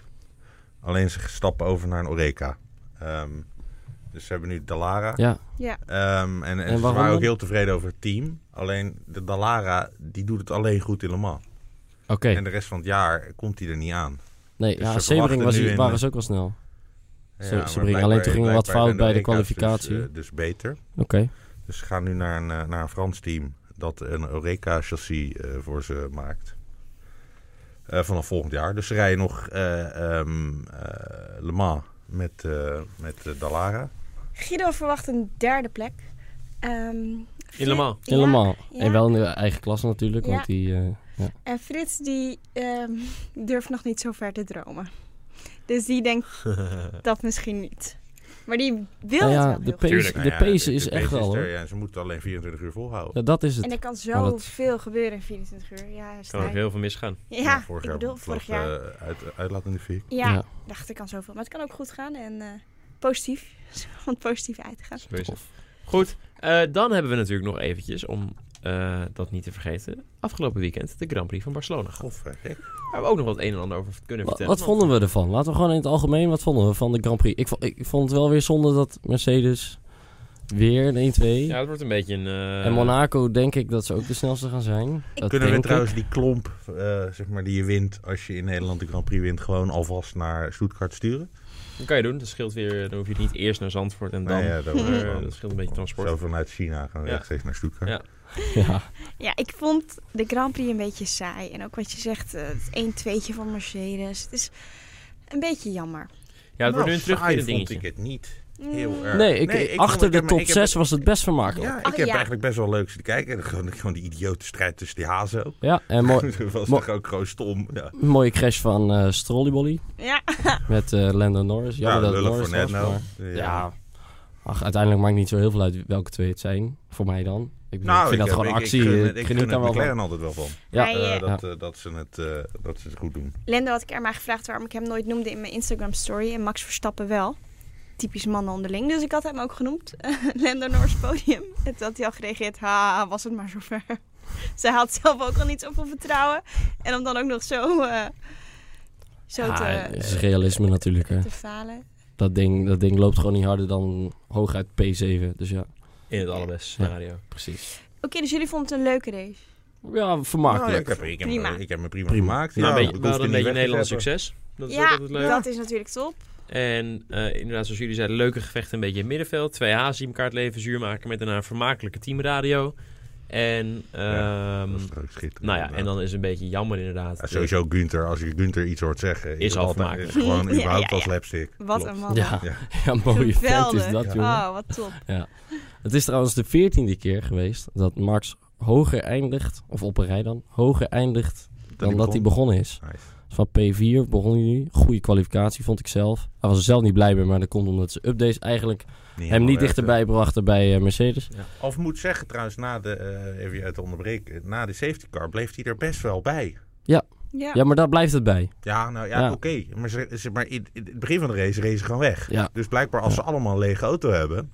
Alleen ze stappen over naar een Oreca. Ehm, dus ze hebben nu Dallara.
Ja,
Ja,
Ehm, en, en, ze
waarom
waren ook
dan?
heel tevreden over het team. Alleen de Dallara, die doet het alleen goed in Le Mans.
oké.
En de rest van het jaar komt hij er niet aan.
Nee,
Dus
ja,
ze
Sebring
verwachten
was,
nu in,
waren
eh,
ze ook wel snel. Ze-
maar
ze brengen-
blijkbaar-
alleen toen ging er wat
blijkbaar
fout bij de
Oreca's dus,
kwalificatie.
eh, dus beter.
Oké.
Dus ze gaan nu naar een, eh, naar een Frans team dat een Eureka-chassis eh, voor ze maakt. Eh, vanaf volgend jaar. Dus ze rijden nog eh, ehm, eh, Le Mans met, eh met eh, Dallara.
Guido verwacht een derde plek. Ehm, Fri-
Le Mans?
Ja,
Helemaal.
ja.
En wel in de eigen klas natuurlijk,
Ja.
want die... eh, ja.
En Frits die ehm, durft nog niet zo ver te dromen. Dus die denkt dat misschien niet. Maar die wil
Nou ja,
het
de
wel heel
pace,
graag.
Tuurlijk,
Nou
de
ja,
pace is
de
echt
pace
wel,
er,
hoor.
ja, ze moeten alleen 24 uur volhouden.
Ja, dat is
En eh,
het.
er kan
Maar dat-
zoveel gebeuren in 24 uur. Ja,
Kan ook
Stijn.
heel veel misgaan.
ja
vorig
ik
jaar eh,
bedoel, vorig jaar.
uit, uitlaat in de fik.
Ja, dacht ik kan zoveel. Maar het kan ook goed gaan en eh, positief. Om het positief uit te gaan.
Zo is het. Goed, eh, dan hebben we natuurlijk nog eventjes, om eh, dat niet te vergeten, afgelopen weekend de Grand Prix van Barcelona. gehad.
Godver,
Daar hebben we ook nog wat een en ander over kunnen
Wa- Wat,
vertellen.
vonden we ervan? Laten we gewoon in het algemeen, wat vonden we van de Grand Prix? Ik, vo- ik vond het wel weer zonde dat Mercedes weer een 1-2...
Ja, het wordt een beetje een... eh,
en Monaco denk ik dat ze ook de snelste gaan zijn. Dat
Kunnen we
denk ik.
trouwens die klomp, eh, zeg maar, die je wint als je in Nederland de Grand Prix wint, gewoon alvast naar Stuttgart sturen?
Dat kan je doen, dat scheelt weer, dan hoef je niet eerst naar Zandvoort en dan...
Nou ja, dat wordt
Eh,
gewoon-
dat scheelt een beetje transport.
Zo vanuit China gaan we
Ja.
rechtstreeks naar Stuttgart.
Ja.
Ja,
Ja, ik vond de Grand Prix een beetje saai. En ook wat je zegt, eh, het 1 tje van Mercedes. Het is een beetje jammer.
Ja, het wordt nu een
terug
terugkerend
Nou, vond
dingetje.
ik het niet.
Mm.
Heel erg.
Nee, ik,
vond-
achter
ik
de
heb-
top
ik heb-
6 was het best vermakelijk.
Ja, ik
Ach,
heb
ja.
eigenlijk best wel leuk zitten kijken. Gewoon, gewoon die idiote strijd tussen die hazen ook.
Ja, en mooi,
Dat was
Mo-
toch ook gewoon stom. Ja.
mooie crash van eh Strollybolly
Ja,
met eh Lando Norris. Jammer
ja,
dat het
lullig
Norris
voor net
was,
nou.
maar- Ja. Ach, uiteindelijk maakt niet zo heel veel uit welke twee het zijn. Voor mij dan. Ik, bedoel, ik vind dat
heb-
gewoon
Nou, ik-
actie.
Ik gun,
eh,
het- ik gun
geniet daar
het
wel
McLaren
van.
altijd wel van.
Ja,
Hij,
Eh,
eh,
dat, eh, dat, ze het, eh, dat ze het goed doen.
Lendo had ik er maar gevraagd waarom ik hem nooit noemde in mijn Instagram story. En Max Verstappen wel. Typisch mannen onderling. Dus ik had hem ook genoemd. Lendo Norris podium. En toen had hij al gereageerd. Ha, was het maar zover. Zij haalt zelf ook al niets op van vertrouwen. En om dan ook nog zo, eh, zo
Ah, Ja,
te,
het is realisme natuurlijk. Hè.
te falen.
Dat, ding, dat ding loopt gewoon niet harder dan hooguit P7. Dus ja,
In het allerbeste scenario. Nou,
precies.
Oké, dus jullie vonden het een leuke race.
Ja,
Nou, ik,
vermakelijk.
heb, ik, heb,
Prima.
me- ik heb me prima,
Prima.
gemaakt.
Nou,
Ja,
een
ik
beetje, we
hoefde
hadden een
niet
beetje
weg
Nederlands
te zetten.
succes. Dat is ook
ja,
altijd leuk.
dat is natuurlijk top.
En eh, inderdaad, zoals jullie zeiden, leuke gevechten een beetje in het middenveld. Twee hazen die elkaar het leven zuur maken met daarna een vermakelijke teamradio. En,
Ja,
ehm,
Dat was er ook schitterend. eh.
nou ja, en dan is het een beetje jammer inderdaad.
Ja, sowieso Gunther, als je Gunther iets hoort zeggen,
Is al
altijd-
vermakelijk.
is gewoon
Ja, ja,
überhaupt
ja.
als lapstick.
Wat een man.
Ja,
Nou, Ja.
ja, mooie vent is
Geweldig.
dat, jongen.
Oh, wat top.
Het is trouwens de veertiende keer geweest dat Max hoger eindigt, of op een rij dan, hoger eindigt dan dat hij begonnen is.
Nice.
Van P4 begon hij nu. Goede kwalificatie, vond ik zelf. Hij was er zelf niet blij mee, maar dat komt omdat ze updates eigenlijk hem niet dichterbij brachten bij eh, Mercedes.
Of moet zeggen trouwens, na de, eh, even je uit onderbreken, na de safety car bleef hij er best wel bij.
Ja.
Ja, maar daar blijft het bij.
Ja, nou ja,
Ja.
oké. Maar, ze, ze- maar in, in het begin van de race racen gewoon weg.
Ja.
Dus blijkbaar als ze allemaal een lege auto hebben,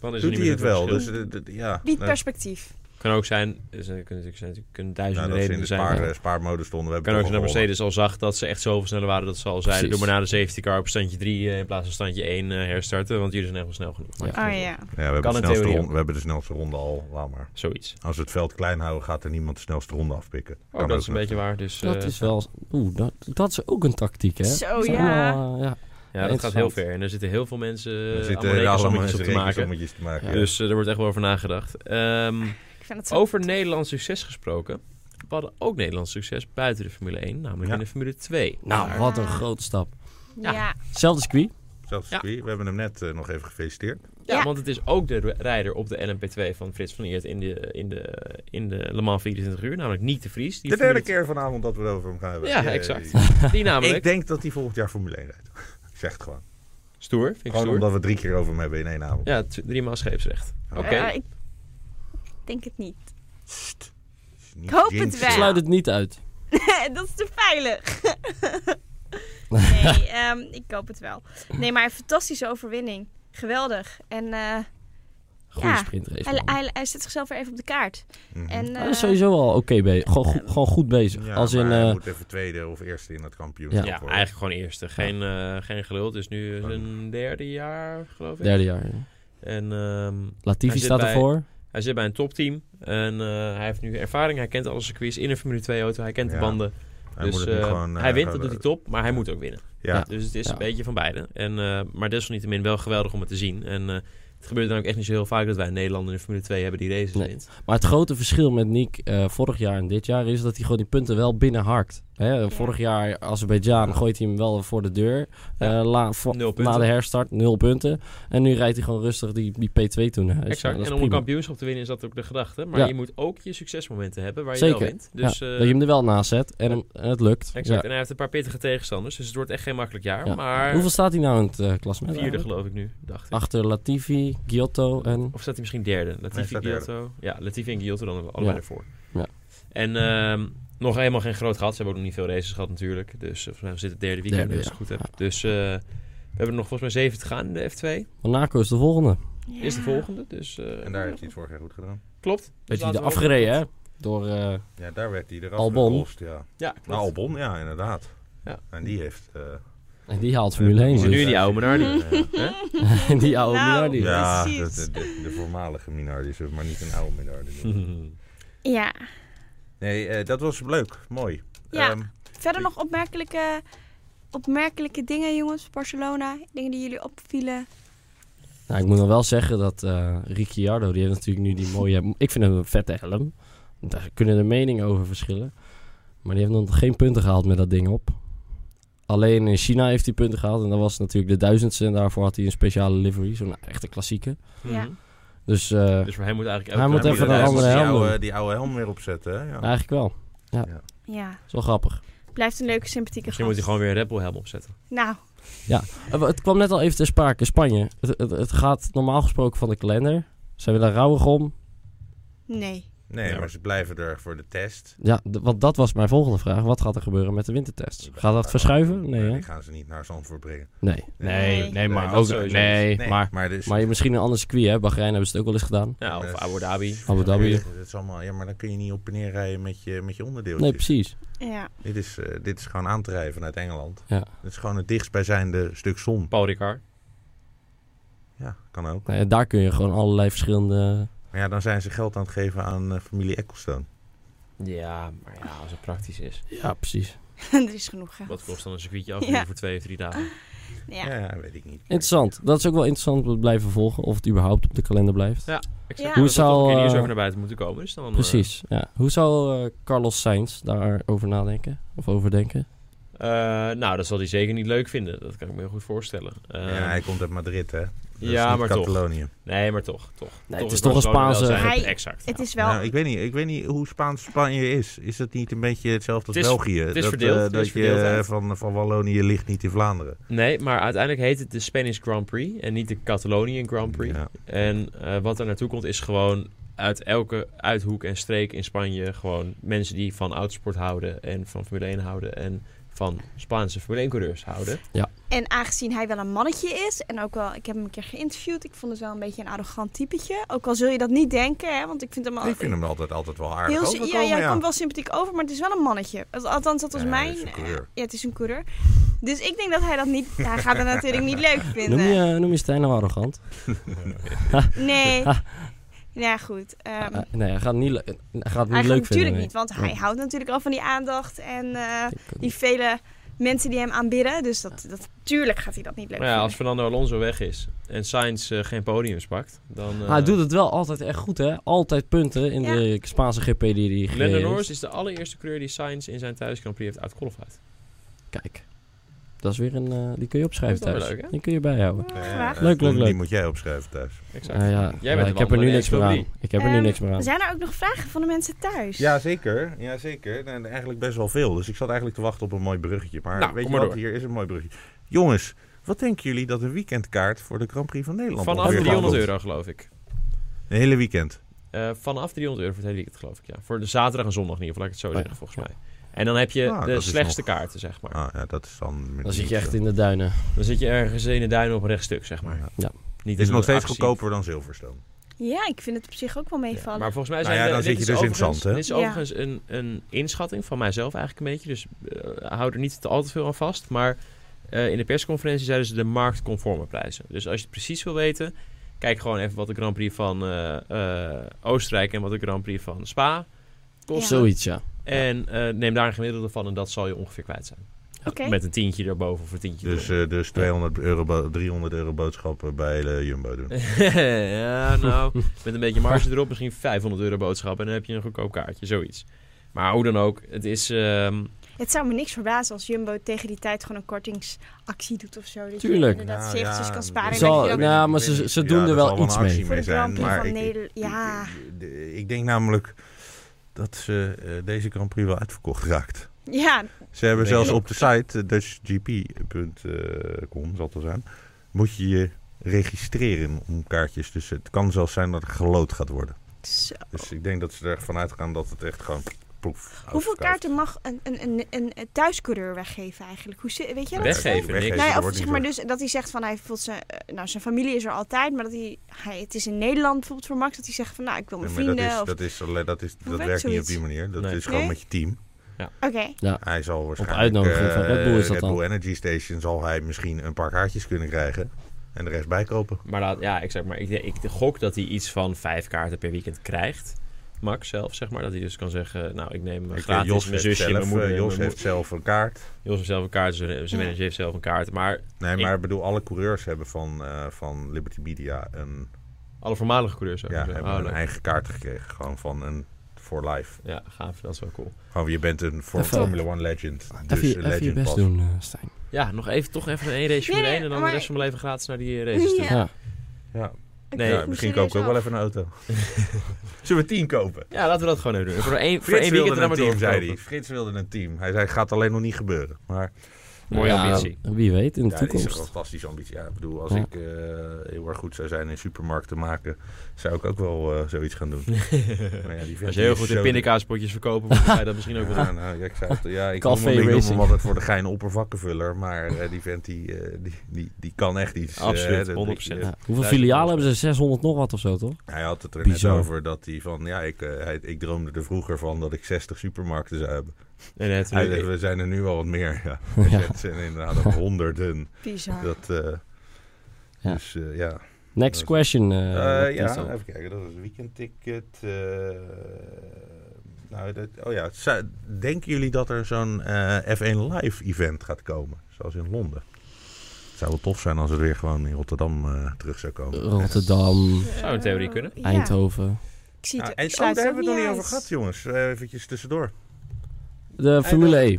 Dan is er
doet
niet
hij
meer
het
zoveel
wel. Dus,
verschil.
eh, d- d- ja.
Biedt
Nou,
perspectief.
Kan ook zijn, er zijn- kunnen, natuurlijk zijn- kunnen
nou,
duizenden
dat ze in de
redenen zijn.
spaar, eh, spaarmode stonden. We hebben
Kan ook
toch
zijn dat
al gewonnen.
Mercedes al zag dat ze echt zoveel sneller waren dat ze al zeiden:
Precies.
doe maar na de safety car op standje 3 in plaats van standje 1 herstarten, want jullie zijn echt wel snel genoeg. Maar
Ja.
goed,
Oh ja.
Ja, we hebben,
Kan
de
in
snelste
theorie
ronde, we hebben de snelste ronde al. Laat maar.
Zoiets.
Als we het veld klein houden, gaat er niemand de snelste ronde afpikken.
Ook Oh, dat is een beetje waar. Dus,
Dat
eh,
is wel... Oeh, dat, dat is ook een tactiek, hè?
Zo
Dat is
ja.
allemaal, eh, ja.
Ja, dat gaat heel
interessant.
ver. En er zitten heel veel mensen
Er
uh,
zitten hele allemaal
allemaal op te
mensen
maken.
rekensom te maken.
Ja.
Dus,
Dus eh, er wordt echt wel over nagedacht. Ehm,
Ik vind het zo.
over Nederlands succes gesproken. We hadden ook Nederlands succes buiten de Formule 1, namelijk
Ja.
in de Formule 2.
Nou,
Maar-
wat een grote stap.
Ja.
Ja.
Zelfde circuit.
zelfs
Ja.
circuit. We hebben hem net eh, nog even gefeliciteerd.
Ja,
Ja.
want het is ook de r- rijder op de LMP2 van Frits van Eert in de, in de, in de Le Mans 24 uur, namelijk Niek de Vries. Die
De derde
Formule-
keer vanavond dat we het over hem gaan hebben.
Ja,
Jee.
exact. Die namelijk.
Ik denk dat hij volgend jaar Formule 1 rijdt. Ik zeg het gewoon.
Stoer, vind ik
Gewoon
stoer.
omdat we drie keer over hem hebben in één avond.
Ja, t- drie maal scheepsrecht. Oké.
Eh, ik denk het niet.
Ik
hoop het
Ik
Ja. wel.
sluit het niet uit.
dat is te veilig. nee, ehm, ik koop het wel. Nee, maar een fantastische overwinning. Geweldig. En eh,
Goede
Ja,
sprintrace.
hij,
man.
hij, hij zet zichzelf weer even op de kaart.
Mhm.
En,
Hij Oh, is
eh,
sowieso al oké bezig. Gewoon, goed- gewoon goed bezig. Als in... eh,
hij moet even tweede of eerste in het
Ja.
kampioenschap
Ja,
worden.
eigenlijk gewoon eerste. Geen, eh geen gelul. Het is nu zijn derde jaar, geloof ik.
Derde jaar.
En ehm, Hij
Latifi
zit
staat
bij-
ervoor.
hij zit bij een topteam. En eh, hij heeft nu ervaring. Hij kent alle circuits in een Formule 2 auto. Hij kent
Ja.
de banden.
Hij
dus
moet het nu
eh,
gewoon, eh,
hij wint, dat
gewoon,
doet hij top. Maar hij moet ook winnen.
eh, Ja,
Dus het is
Ja.
een beetje van beide. En, eh, maar desalniettemin wel geweldig om het te zien. En eh, het gebeurt dan ook echt niet zo heel vaak dat wij in Nederland in de Formule 2 hebben die races
Nee.
wint.
Maar het grote verschil met Nick eh, vorig jaar en dit jaar is dat hij gewoon die punten wel binnenharkt. Hè? Vorig jaar Azerbeidzjan gooit hij hem wel voor de deur.
Ja.
Eh, la, voor-
Nul punten.
na de herstart, nul punten. En nu rijdt hij gewoon rustig die, die P2 toen naar huis.
Exact.
Nou, dat
En om
is
een
prima.
kampioenschap te winnen is dat ook de gedachte. Maar
Ja.
je moet ook je succesmomenten hebben waar je wel
Zeker.
wint. Dus,
Ja,
eh,
dat je hem er wel naast zet en, hem- en het lukt.
Exact. En
Ja.
hij heeft een paar pittige tegenstanders. Dus het wordt echt geen makkelijk jaar.
Ja.
Maar
Hoeveel Ah, staat hij nou in het eh, klassement?
vierde geloof ik nu, dacht ik.
Achter Latifi, Giotto en...
Of staat hij misschien derde?
hij
Latifi,
staat derde.
Giotto. Ja, Latifi en Giotto dan allebei
Ja.
ervoor.
Ja.
En ehm, nog helemaal geen groot gat. Ze hebben ook nog niet veel races gehad natuurlijk. Dus eh, volgens mij zit het derde weekend
Derde,
als ik
ja.
het goed heb. Dus eh, we hebben er nog volgens mij zeven te gaan in de F2.
Monaco is de volgende.
Is de
ja.
volgende. Dus, eh,
en daar heeft hij het vorig jaar goed gedaan.
Klopt. Dus
Weet je,
laten we
de
hopen
afgereden hè?
dat-
Door... eh,
Ja, daar werd hij eraf
Albon.
gelost, ja.
Ja, klopt.
Nou, Albon, ja, inderdaad.
Ja.
En die heeft... eh,
en die haalt Formule 1.
nu die
Dus.
oude eh, Minardi.
Ja.
die oude
Nou.
Minardi.
Ja, de,
Precies.
de, de, de voormalige Minardi, zullen we maar niet een oude Minardi noemen.
Ja.
Nee, eh, dat was leuk. Mooi.
Ja.
Ehm,
Verder nog opmerkelijke, opmerkelijke dingen, jongens. Barcelona. Dingen die jullie opvielen.
Nou, ik moet nog wel zeggen dat eh, Ricciardo, die heeft natuurlijk nu die mooie... Ik vind hem een vette helm. Daar kunnen de meningen over verschillen. Maar die heeft nog geen punten gehaald met dat ding op. Alleen in China heeft hij punten gehaald. En dat was natuurlijk de duizendste. En daarvoor had hij een speciale livery. Zo'n echte klassieke.
Ja.
Dus eh,
Dus voor hem moet eigenlijk
Hij
elke-
moet
hij
even
moet-
een
hij moet
andere
die
helm
oude-
doen.
Die oude helm weer opzetten, hè? Ja.
eigenlijk wel.
Ja.
Dat is wel grappig.
Blijft een leuke, sympathieke
Misschien
gast.
moet hij gewoon weer een Red Bull helm opzetten.
Nou,
Eh, Het kwam net al even ter sprake. Spanje. Het, het, het gaat normaal gesproken van de kalender. Zij willen rouwig om.
nee.
Nee,
Ja.
maar ze blijven er voor de test.
Ja, d- want dat was mijn volgende vraag. Wat gaat er gebeuren met de wintertest? Gaat dat verschuiven? Nee, hè?
Die gaan ze niet naar Zandvoort brengen.
Nee.
Nee. Nee,
maar
ook- nee,
Nee,
maar...
maar, dus,
Maar je misschien een ander circuit, hè? Bahrein hebben ze het ook wel eens gedaan.
Ja,
Maar
Nou, of
dat-
Abu Dhabi.
Abu Dhabi.
Dat is allemaal, ja, maar dan kun je niet op en neer rijden met je, met je
Nee,
onderdeeltjes.
precies.
Ja.
dit, is, eh, dit is gewoon aan te rijden vanuit Engeland.
Ja.
Het is gewoon het dichtstbijzijnde stuk zon.
Paul Ricard.
Ja, kan ook.
Nou ja, daar kun je gewoon allerlei verschillende...
Maar ja, dan zijn ze geld aan het geven aan eh, familie Ecclestone.
Ja, maar ja, als het praktisch is.
Ja, precies.
er is genoeg. hè.
Wat kost dan een circuitje
Ja.
af voor twee of drie dagen?
Ja.
Ja, weet ik niet.
Interessant. Dat is ook wel interessant om te blijven volgen. Of het überhaupt op de kalender blijft.
Ja, Exact.
Ja.
Hoe
Hoe
zou... Een keer
zou,
nieuws
eh,
over naar buiten moeten komen. Dus dan, eh,
Precies. Ja. Hoe zou eh, Carlos Sainz daarover nadenken? Of overdenken?
eh, nou, dat zal hij zeker niet leuk vinden. Dat kan ik me heel goed voorstellen. Eh,
Ja, hij komt uit Madrid, hè? Dat
Ja,
is niet
maar toch.
Catalonië.
Nee, maar toch. toch.
het is toch een
Barcelona wel
Spaanse-
zijn,
Hij-
Exact.
Het
ja.
is wel...
Nou, ik weet niet. Ik weet niet hoe Spaans Spanje is. Is dat niet een beetje hetzelfde als
Het is-
België?
het is
dat,
verdeeld,
eh,
het is
dat je eh,
verdeeldheid.
van, van Wallonië ligt niet in Vlaanderen.
Nee, maar uiteindelijk heet het de Spanish Grand Prix en niet de Catalonian Grand Prix.
Ja.
En eh, wat er naartoe komt is gewoon uit elke uithoek en streek in Spanje gewoon mensen die van autosport houden en van Formule 1 houden en van Spaanse Formule 1 coureurs houden.
En aangezien hij wel een mannetje is en ook wel, ik heb hem een keer geïnterviewd, ik vond het wel een beetje een arrogant typetje. Ook al zul je dat niet denken, hè, want ik vind hem al
Ik vind hem altijd, altijd wel aardig
Ah. heel sy-
overkomen,
ja, ja, hij
ja.
komt wel eh, sympathiek over, maar het is wel een mannetje. Al- Althans, dat was
Ja,
mijn.
hij is een coureur.
ja, het is een coureur. Dus ik denk dat hij dat niet. Hij gaat het natuurlijk niet leuk
Noem
vinden.
je, noem je Stijn nou arrogant?
Nee. Ja, goed. ehm,
Eh, nee, hij gaat het niet, le- hij gaat het niet
hij gaat
leuk
natuurlijk
vinden.
niet, want hij houdt natuurlijk al van die aandacht en eh,
Ik weet
die vele mensen die hem aanbidden. Dus dat, dat, tuurlijk gaat hij dat niet leuk
Maar ja, als
vinden.
Fernando Alonso weg is en Sainz eh, geen podiums pakt, dan... eh,
Maar hij doet het wel altijd echt goed, hè? Altijd punten in
Ja.
de Spaanse GP die hij gereden
Lando
heeft.
Norris is de allereerste coureur die Sainz in zijn thuis Grand Prix heeft uitqualified.
Kijk, dat is weer een... eh, die kun je opschrijven
Dat is wel
thuis.
leuk, hè?
die kun je bijhouden.
Ja,
Ja,
graag.
eh,
Leuk, leuk,
die
leuk.
moet jij opschrijven thuis.
Exact.
Nou
Jij
ja, ja,
bent
ik heb er nu
wandelen,
niks meer aan.
Explorie.
Ik heb er nu
Ehm,
niks meer aan.
Zijn er ook nog vragen van de mensen thuis?
Ja, zeker. Ja, zeker. En eigenlijk best wel veel. Dus ik zat eigenlijk te wachten op een mooi bruggetje. Maar
Nou,
weet
kom
je
maar
wat?
door.
Hier is een mooi bruggetje. Jongens, wat denken jullie dat een weekendkaart voor de Grand Prix van Nederland
Vanaf
ongeveer
300
kost?
euro, geloof ik.
Een hele weekend.
Eh, vanaf 300 euro voor het hele weekend, geloof ik. Ja. Voor de zaterdag en zondag in ieder geval, laat ik het zo
Oh ja,
zeggen, volgens mij. En dan heb je
Ah,
de
dat is
slechtste kaarten, zeg maar.
Ah, ja, dat is dan...
Dan zit
niet,
je echt
eh,
in de duinen.
Dan zit je ergens in de duinen op een rechtstuk, zeg maar.
ja.
Niet
Is
in
nog
een
steeds
actie.
goedkoper dan Silverstone.
Ja, ik vind het op zich ook wel
Ja,
meevallen.
maar volgens mij
Nou
zijn
ja,
de-
dan
dit
zit je
is
dus in het
overigens-
zand, hè?
Dit is
Ja.
overigens een, een inschatting van mijzelf eigenlijk een beetje. Dus eh, hou er niet te al te veel aan vast. Maar eh, in de persconferentie zeiden ze de marktconforme prijzen. Dus als je het precies wil weten, kijk gewoon even wat de Grand Prix van eh, eh, Oostenrijk en wat de Grand Prix van Spa kost.
Ja.
Zoiets, ja.
En eh, neem daar een gemiddelde van en dat zal je ongeveer kwijt zijn.
Oké.
Met een tientje erboven of een tientje
Dus, eh, dus 200 euro, bo- 300 euro boodschappen bij de Jumbo doen.
Eh,
eronder. ja, nou, met een beetje marge erop misschien 500 euro boodschap en dan heb je een goedkoop kaartje, zoiets. Maar hoe dan ook, het is... ehm,
Het zou me niks verbazen als Jumbo tegen die tijd gewoon een kortingsactie doet of zo. Dat
Tuurlijk.
je inderdaad
Nou,
eventjes
ja,
kan sparen. en
ik
Zal-
dat je
weet
dan
niet,
nou,
ik
maar
weet
ze-
niet.
ze doen
Ja,
er
er
wel
zal een
iets
actie
mee.
voor de Grand
zijn.
Prix
Maar
van
ik-
Nederland... Ja,
Ik, ik- ik denk namelijk dat ze eh, deze Grand Prix wel uitverkocht raakt.
ja,
Ze hebben
Denk
zelfs
ik ook.
op de site, eh, dutchgp.com zal het wel zijn, moet je je registreren om kaartjes. Dus het kan zelfs zijn dat er gelood gaat worden.
zo.
Dus ik denk dat ze ervan uitgaan dat het echt gewoon poef.
Hoeveel
uitverkoopt.
kaarten mag een, een, een, een, een thuiscoureur weggeven eigenlijk? Hoe, zit- weet jij dat?
Weggeven? niks.
Nou
er
ja, of
wordt
zeg
niet
maar dus dat hij zegt van hij voelt zijn, eh, nou, zijn familie is er altijd, maar dat hij, hij, het is in Nederland bijvoorbeeld voor Max, dat hij zegt van nou ik wil
Nee,
mijn
maar
vrienden.
dat is,
of-
dat, is, alleen- dat, is, dat
werkt
werkt niet op die
zoiets?
manier. Dat
Nee.
is gewoon
Nee?
met je team.
Oké,
Hij zal waarschijnlijk...
uitnodiging van
eh,
Red Bull is dat
Red
dan.
Bull Energy Station zal hij misschien een paar kaartjes kunnen krijgen. En de rest bijkopen.
Maar laat, ja, ik zeg maar, ik, ik gok dat hij iets van vijf kaarten per weekend krijgt. Max zelf, zeg maar. Dat hij dus kan zeggen, nou, ik neem eh,
Ik, eh,
gratis
Jos
mijn
heeft
zusje,
zelf,
mijn moeder.
eh,
mijn
Jos
moeder-
heeft zelf een kaart.
Jos heeft zelf een kaart, zijn zijn
Ja.
manager heeft zelf een kaart. Maar
Nee,
Ik-
maar ik bedoel, alle coureurs hebben van, eh, van Liberty Media een,
alle voormalige coureurs ook.
ja,
Dus,
hebben
oh,
een
leuk.
eigen kaart gekregen. Gewoon van een for life.
Ja, gaaf. Dat is wel cool.
Gewoon, je bent een for-
Even-
Formula One legend. Dus
Even, je-
een
even je
legend
best
pas.
doen, eh, Stijn.
Ja, nog even toch even een race
Nee,
voor één en dan
maar-
de rest van mijn leven gratis naar die eh, races
Ja.
toe.
Ja.
Ja.
Ik
Nee,
vroeg
ja,
me
misschien koop
serieus
ik ook wel
af.
even een auto. Zullen we tien kopen?
Ja, laten we dat gewoon even doen. Voor één, voor
Frits
één weekend
wilde
en dan maar
een team, zei hij.
doorverkopen.
Frits wilde een team. Hij zei, gaat alleen nog niet gebeuren. Maar
Mooie ambitie.
Wie weet, in de
ja, dit is een
toekomst.
fantastische ambitie. Ja, ik bedoel, als
Ja.
ik eh, heel erg goed zou zijn in supermarkten maken, zou ik ook wel eh, zoiets gaan doen. Maar ja, die vent
Als je heel
is
goed in
zo-
pindakaaspotjes verkopen, moet jij dat misschien ook wel
Ja,
doen.
nou, ja, ik zou het, ja, ik
Café
noem hem- ik noem
racing.
hem altijd voor de gein oppervakkenvuller, maar eh, die vent die, eh, die, die, die kan echt iets. eh,
Absoluut,
dat-
100%.
eh,
Ja. Hoeveel filialen hebben ze? 600 nog wat of zo, toch?
hij had het er
Bizar.
net over dat hij van, ja, ik, eh, hij, ik droomde er vroeger van dat ik 60 supermarkten zou hebben.
En het,
Hij zegt, we zijn er nu al wat meer. Ja. Hij zegt, Het zijn inderdaad al honderden.
Bizar.
Dat, eh,
Ja.
Dus eh, ja.
Next question. eh,
Eh,
wat is
ja,
dat?
even kijken. Dat is een weekendticket. eh, nou, dat, oh ja. zou- denken jullie dat er zo'n eh, F1 live event gaat komen? Zoals in Londen. Het zou wel tof zijn als het weer gewoon in Rotterdam eh, terug zou komen.
Rotterdam,
Zou in theorie kunnen.
Eh, Ja,
Eindhoven.
ik zie het.
Nou,
ik
en- oh,
sluit
daar
het ook
hebben we het nog niet
uit.
over gehad, jongens. Even eventjes tussendoor.
De Formule E.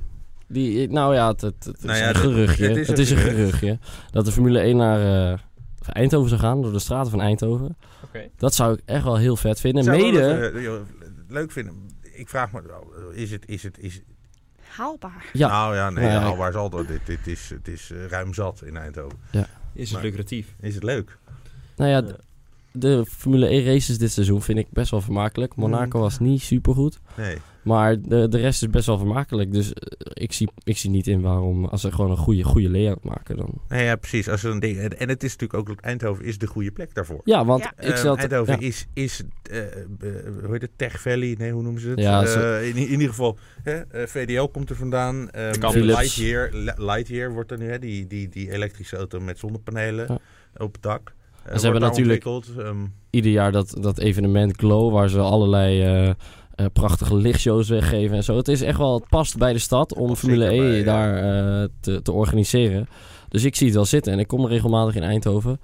Die, nou ja, het, het, het
Nou
is
ja,
een
dit-
geruchtje.
dit
Het is een geruchtje. Dat de Formule 1 E naar eh, Eindhoven zou gaan, door de straten van Eindhoven. Dat zou ik echt wel heel vet vinden.
Zou wel
Mede,
dat, eh, joh, leuk vinden. Ik vraag me wel, is het, is het, is,
Haalbaar.
Ja.
nou ja, nee,
Nee.
ja, waar zal dat? Dit, dit is, het is eh, ruim zat in Eindhoven.
Is
Maar-
het lucratief?
Is het leuk?
nou ja,
Eh,
de, de Formule E races dit seizoen vind ik best wel vermakelijk. Monaco
Mm.
was niet supergoed,
Nee.
maar de, de rest is best wel vermakelijk. Dus eh, ik, zie, ik zie niet in waarom, als ze gewoon een goede, goede layout maken dan.
Nee, Nou ja, precies. Als een ding, en het is natuurlijk ook dat Eindhoven is de goede plek daarvoor.
Ja, want
Ja.
ik
Ehm,
stel...
Eindhoven
ja.
is, is eh, eh, hoe heet het, Tech Valley, nee, hoe noemen ze het?
Ja,
Eh,
ze-
in, in ieder geval, hè, eh, VDL komt er vandaan. ehm,
Campus.
Lightyear, Li- Lightyear wordt er nu, hè, die, die, die elektrische auto met zonnepanelen
Ja.
op het dak. Eh, wordt
hebben
daar
natuurlijk-
ontwikkeld, ehm,
ieder jaar dat, dat evenement Glow, waar ze allerlei eh, eh, prachtige lichtshows weggeven en zo. Het is echt wel, het past bij de stad om
past
Formule E
zeker bij, ja.
daar eh, te, te organiseren. Dus ik zie het wel zitten en ik kom regelmatig in Eindhoven.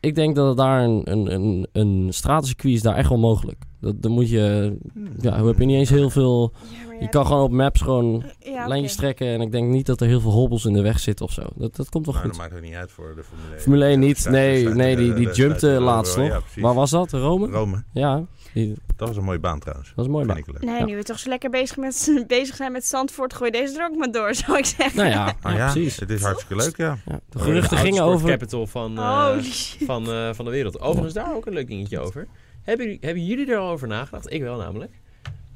Ik denk dat het daar een, een, een, een stratencircuit is daar echt wel mogelijk. Dat, dan moet je, ja, hoe heb je niet eens heel veel...
Ja, maar ja,
Je kan gewoon op maps gewoon
dat- ja, oké.
lijntjes trekken en ik denk niet dat er heel veel hobbels in de weg zitten of zo. Dat, dat komt wel
Maar
goed.
dat maakt ook niet uit voor de Formule 1.
Formule 1 niet, nee, nee, die, die jumpte laatst nog. Waar was dat? Rome?
Rome,
Ja, die,
dat was een mooie baan trouwens.
dat is mooi.
Vind
baan.
ik leuk.
Nee,
Ja.
nu we toch zo lekker bezig, met, bezig zijn met Zandvoort, gooi deze er ook maar door, zou ik zeggen.
Nou ja,
Nou
ja,
ja,
precies.
het is hartstikke leuk, ja.
Ja, de
Oh,
geruchten
de
gingen
autosport
over.
capital van,
Nou,
eh,
Holy shit.
van, eh, van de wereld. Overigens, daar ook een leuk dingetje over. Hebben, jullie- hebben jullie er al over nagedacht? Ik wel namelijk.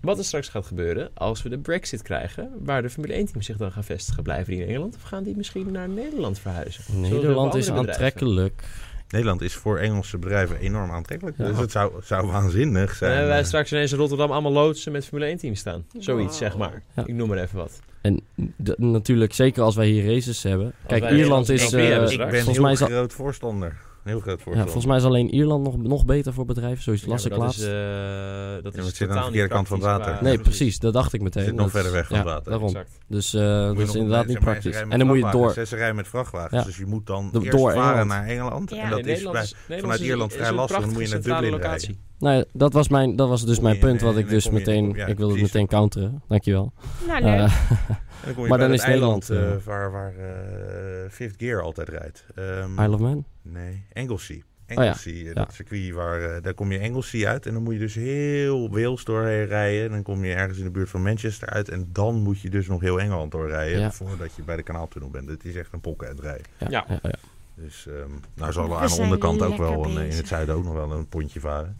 Wat er straks gaat gebeuren als we de Brexit krijgen, waar de Formule 1-teams zich dan gaan vestigen, blijven die in Engeland of gaan die misschien naar Nederland verhuizen? Zullen we heel
Nederland
veel
is
andere bedrijven-
aantrekkelijk.
Nederland is voor Engelse bedrijven enorm aantrekkelijk.
Ja.
Dus het zou, zou waanzinnig
Dan
zijn.
hebben wij
eh,
straks ineens in Rotterdam allemaal loodsen met Formule 1-teams staan. Zoiets,
Wow.
zeg maar.
Ja.
Ik noem maar even wat.
En d- natuurlijk, zeker als wij hier races hebben. Kijk,
wij
Ierland
Nederlandse
is...
kampioen
eh,
hebben
ik
straks.
ben
volgens
heel
mij is al-
groot voorstander. Een heel groot
ja,
voorstander.
volgens mij is alleen Ierland nog, nog beter voor bedrijven. Zoiets
Ja,
las
maar
ik laatst.
Dat is, eh, dat
Ja,
is
maar het zit aan de
totaal
verkeerde
niet
kant van het
praktisch
water.
qua-
nee, precies. Dat dacht ik meteen.
Zit nog
Dat is-
verder weg van
ja,
het water.
Daarom.
Exact.
Dus eh, dat is inderdaad niet praktisch. En dan moet je door.
Ze rijden met vrachtwagens,
Ja.
dus je moet dan
Do-
eerst
door
varen
Engeland.
naar Engeland.
Ja.
En
Nee,
dat is
Nederland
bij,
is- Nederland
vanuit
is een-
Ierland
is
vrij
een
lastig, dan moet je
prachtige
naar
centrale
Dublin
locatie.
Nou, ja, dat was, mijn, dat was dus
Kom
mijn
je in,
punt.
eh,
Wat ik
en
dus
dan kom je in-
meteen...
ja,
Ik wilde het
precies.
meteen counteren. Dankjewel.
Nou, leuk.
Eh
En dan kom je
Maar
bij
dan
dat
is Nederland,
eiland, eh,
eh,
waar, waar eh, Fifth Gear altijd rijdt. Ehm,
Isle of Man.
Nee, Anglesey.
Oh ja.
Anglesey, eh, dat
Ja.
circuit waar, eh, daar kom je Anglesey uit en dan moet je dus heel Wales doorheen rijden. En dan kom je ergens in de buurt van Manchester uit en dan moet je dus nog heel Engeland doorrijden
Ja.
voordat je bij de kanaaltunnel bent. Het is echt een pokken aan het rijden.
Ja,
Ja.
ja, ja.
Dus ehm nou zal er
We
aan de
zijn
onderkant ook
lekker
wel, een, eh, in het
bezig.
zuiden ook nog wel een pontje varen.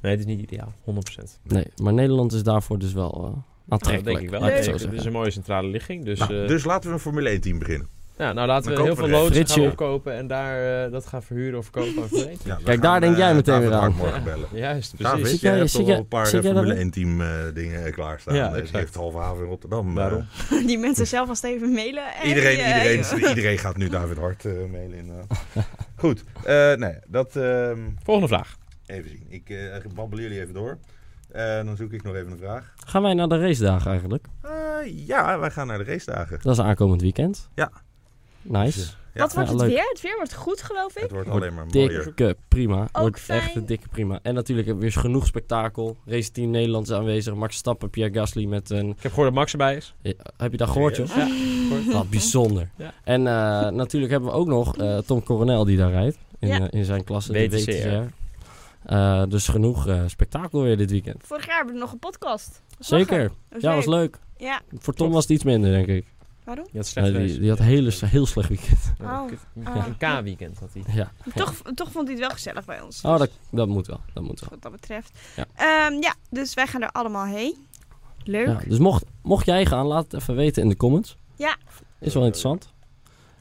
Nee, het is niet ideaal. 100%.
Nee, maar Nederland is daarvoor dus wel eh,
Nou, Dat
aantrekkelijk.
denk ik wel.
laat ik het zo
Nee, Het is een
zeggen.
mooie centrale ligging. Dus,
nou,
eh,
dus laten we een Formule 1 team beginnen.
ja, nou, laten
dan
we heel
kopen
veel
we er
loodsen
even.
gaan
Fritje.
opkopen en daar eh, dat gaan verhuren of kopen aan Formule 1
Ja, we
dus
eh,
Kijk, daar denk jij meteen
David
weer aan.
Hart morgen bellen.
Juist,
David,
precies.
Zit
jij
jij-
hebt
zit
toch wel
jij-
een paar eh,
zit jij daar
Formule 1 team eh, dingen eh, klaarstaan.
Ja,
Eh, die
exact.
heeft halve haven in Rotterdam. eh,
Waarom?
Die mensen zelf alvast even mailen. en
Iedereen,
die, eh,
iedereen, iedereen gaat nu David Hart eh, mailen. inderdaad. Goed, eh, nee, dat ehm,
Volgende vraag.
even zien. Ik eh babbel jullie even door. Eh, dan zoek ik nog even een vraag.
Gaan wij naar de race dagen eigenlijk?
Eh, ja, wij gaan naar de race dagen.
Dat is aankomend weekend.
Ja.
Nice.
Ja.
Wat wordt
Ja,
het
leuk.
weer? Het weer wordt goed, geloof ik.
Het wordt alleen maar mooier.
Dikke prima. Wordt echt
fijn.
een dikke prima. En natuurlijk hebben we weer genoeg spektakel. Race Team Nederland is aanwezig. Max Stappen, Pierre Gasly met een...
Ik heb gehoord dat Max erbij is.
eh, Heb je dat gehoord, joh?
Ja, gehoord.
Wat bijzonder.
Ja.
En eh, natuurlijk hebben we ook nog eh, Tom Coronel die daar rijdt. In,
Ja.
eh, in zijn klasse. de
WTCR.
Eh, dus genoeg eh, spektakel weer dit weekend.
Vorig jaar hebben we nog een podcast. Was lachen.
Zeker.
Was
Ja, was leuk.
Ja,
Voor Tom was het iets minder, denk ik.
waarom?
Die had slecht
Eh, die,
geweest.
die had hele, heel slecht weekend.
Ja,
Oh.
kut.
Ah.
Een K-weekend had hij.
ja.
Toch, toch vond hij het wel gezellig bij ons. dus
Oh, dat, dat moet wel. Dat moet wel.
Wat dat betreft.
Ja.
Ehm, ja, dus wij gaan er allemaal heen. Leuk.
Ja, dus mocht, mocht jij gaan, laat het even weten in de comments.
Ja.
Is wel interessant.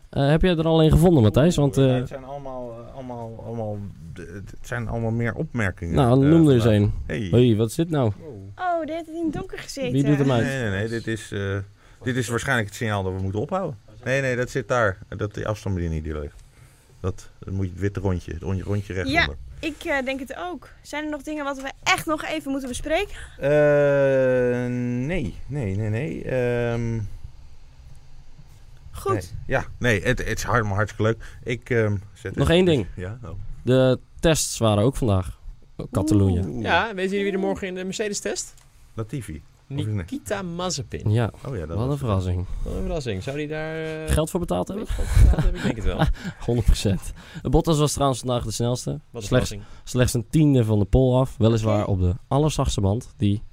Eh, heb jij er al een gevonden, Matthijs? Want eh,
Ja, het zijn allemaal, eh, allemaal, allemaal, het zijn allemaal meer opmerkingen.
nou,
eh,
noem er eens
vandaag.
een.
Hey.
Hé, wat is dit nou?
Oh, die heeft het in het donker gezeten.
Wie doet hem
Nee,
uit?
nee, nee, dit is, eh, dit is waarschijnlijk het signaal dat we moeten ophouden. Nee, nee, dat zit daar. Dat die afstandsbediening die er ligt. Dat, dan moet je het witte rondje, het rondje, rondje rechtonder.
Ik eh, denk het ook. Zijn er nog dingen wat we echt nog even moeten bespreken?
Eh, nee, nee, nee, nee. Ehm,
Goed.
nee. Ja, nee, het, het is hard, maar hartstikke leuk. Ik, ehm, zet
Nog
het-
één ding.
Ja, oh.
De tests waren ook vandaag. Catalonië.
Oeh,
Ja, weten jullie wie er morgen in de Mercedes test?
Latifi. Of nee?
Nikita Mazepin.
Ja,
Oh ja, dat
wat
was-
een verrassing.
Wat een verrassing. Zou die daar... eh,
Geld voor betaald
een
hebben?
beetje van gehad hebben? Ik denk het wel.
100%. Bottas was trouwens vandaag de snelste.
Wat een
Slechts,
verrassing.
slechts een tiende van de pol af. Weliswaar
Oké.
op de allerzachtste band. Die,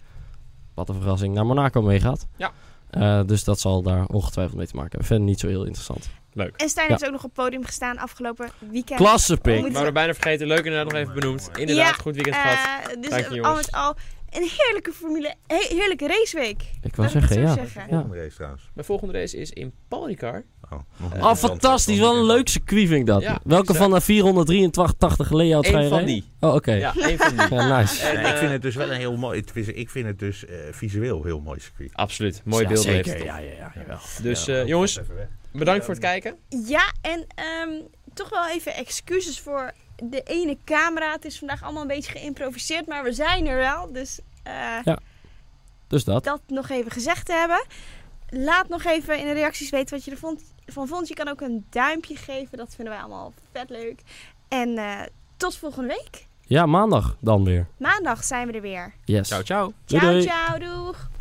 wat een verrassing, naar Monaco meegaat.
Ja.
Eh, dus dat zal daar ongetwijfeld mee te maken hebben. Verder niet zo heel interessant.
Leuk.
En Stijn
Ja.
heeft ook nog op het podium gestaan afgelopen weekend.
Klasse
Oh,
pick.
moet-
Maar we bijna vergeten. Leuk inderdaad nog even benoemd. Inderdaad, goed weekend gehad.
Eh, dus
Dank je,
eh, al
jongens.
met al een heerlijke formule, he- heerlijke raceweek.
Ik wil
Laat ik het
zeggen,
zo
ja.
zeggen.
Volgende race trouwens.
Mijn volgende race is in Paul Ricard.
Oh, nog een
Ah,
Oh,
interessant-
fantastisch. Wel een leuk circuit vind ik dat.
Ja,
Welke
exact.
van de 483 layouts ga je
Eén van
rijden?
die.
Oh, oké.
Ja, één van die.
Ja, nice.
En,
Nee, ik
eh,
vind het dus wel een heel mooi. het is- Ik vind het dus eh, visueel heel mooi circuit.
Absoluut. Mooi
Ja,
beeld heeft
zeker.
het.
Ja, ja, ja, jawel.
Dus
Ja,
eh,
ook
jongens,
even weg.
bedankt voor het kijken.
Ja, en ehm, toch wel even excuses voor de ene camera. Het is vandaag allemaal een beetje geïmproviseerd, maar we zijn er wel. Dus eh,
Dus dat.
dat nog even gezegd te hebben. Laat nog even in de reacties weten wat je ervan van vond. Je kan ook een duimpje geven. Dat vinden wij allemaal vet leuk. En eh, tot volgende week.
Ja, maandag dan weer.
Maandag zijn we er weer.
Yes.
Ciao, ciao.
Doei,
Ciao,
doei.
ciao, doeg.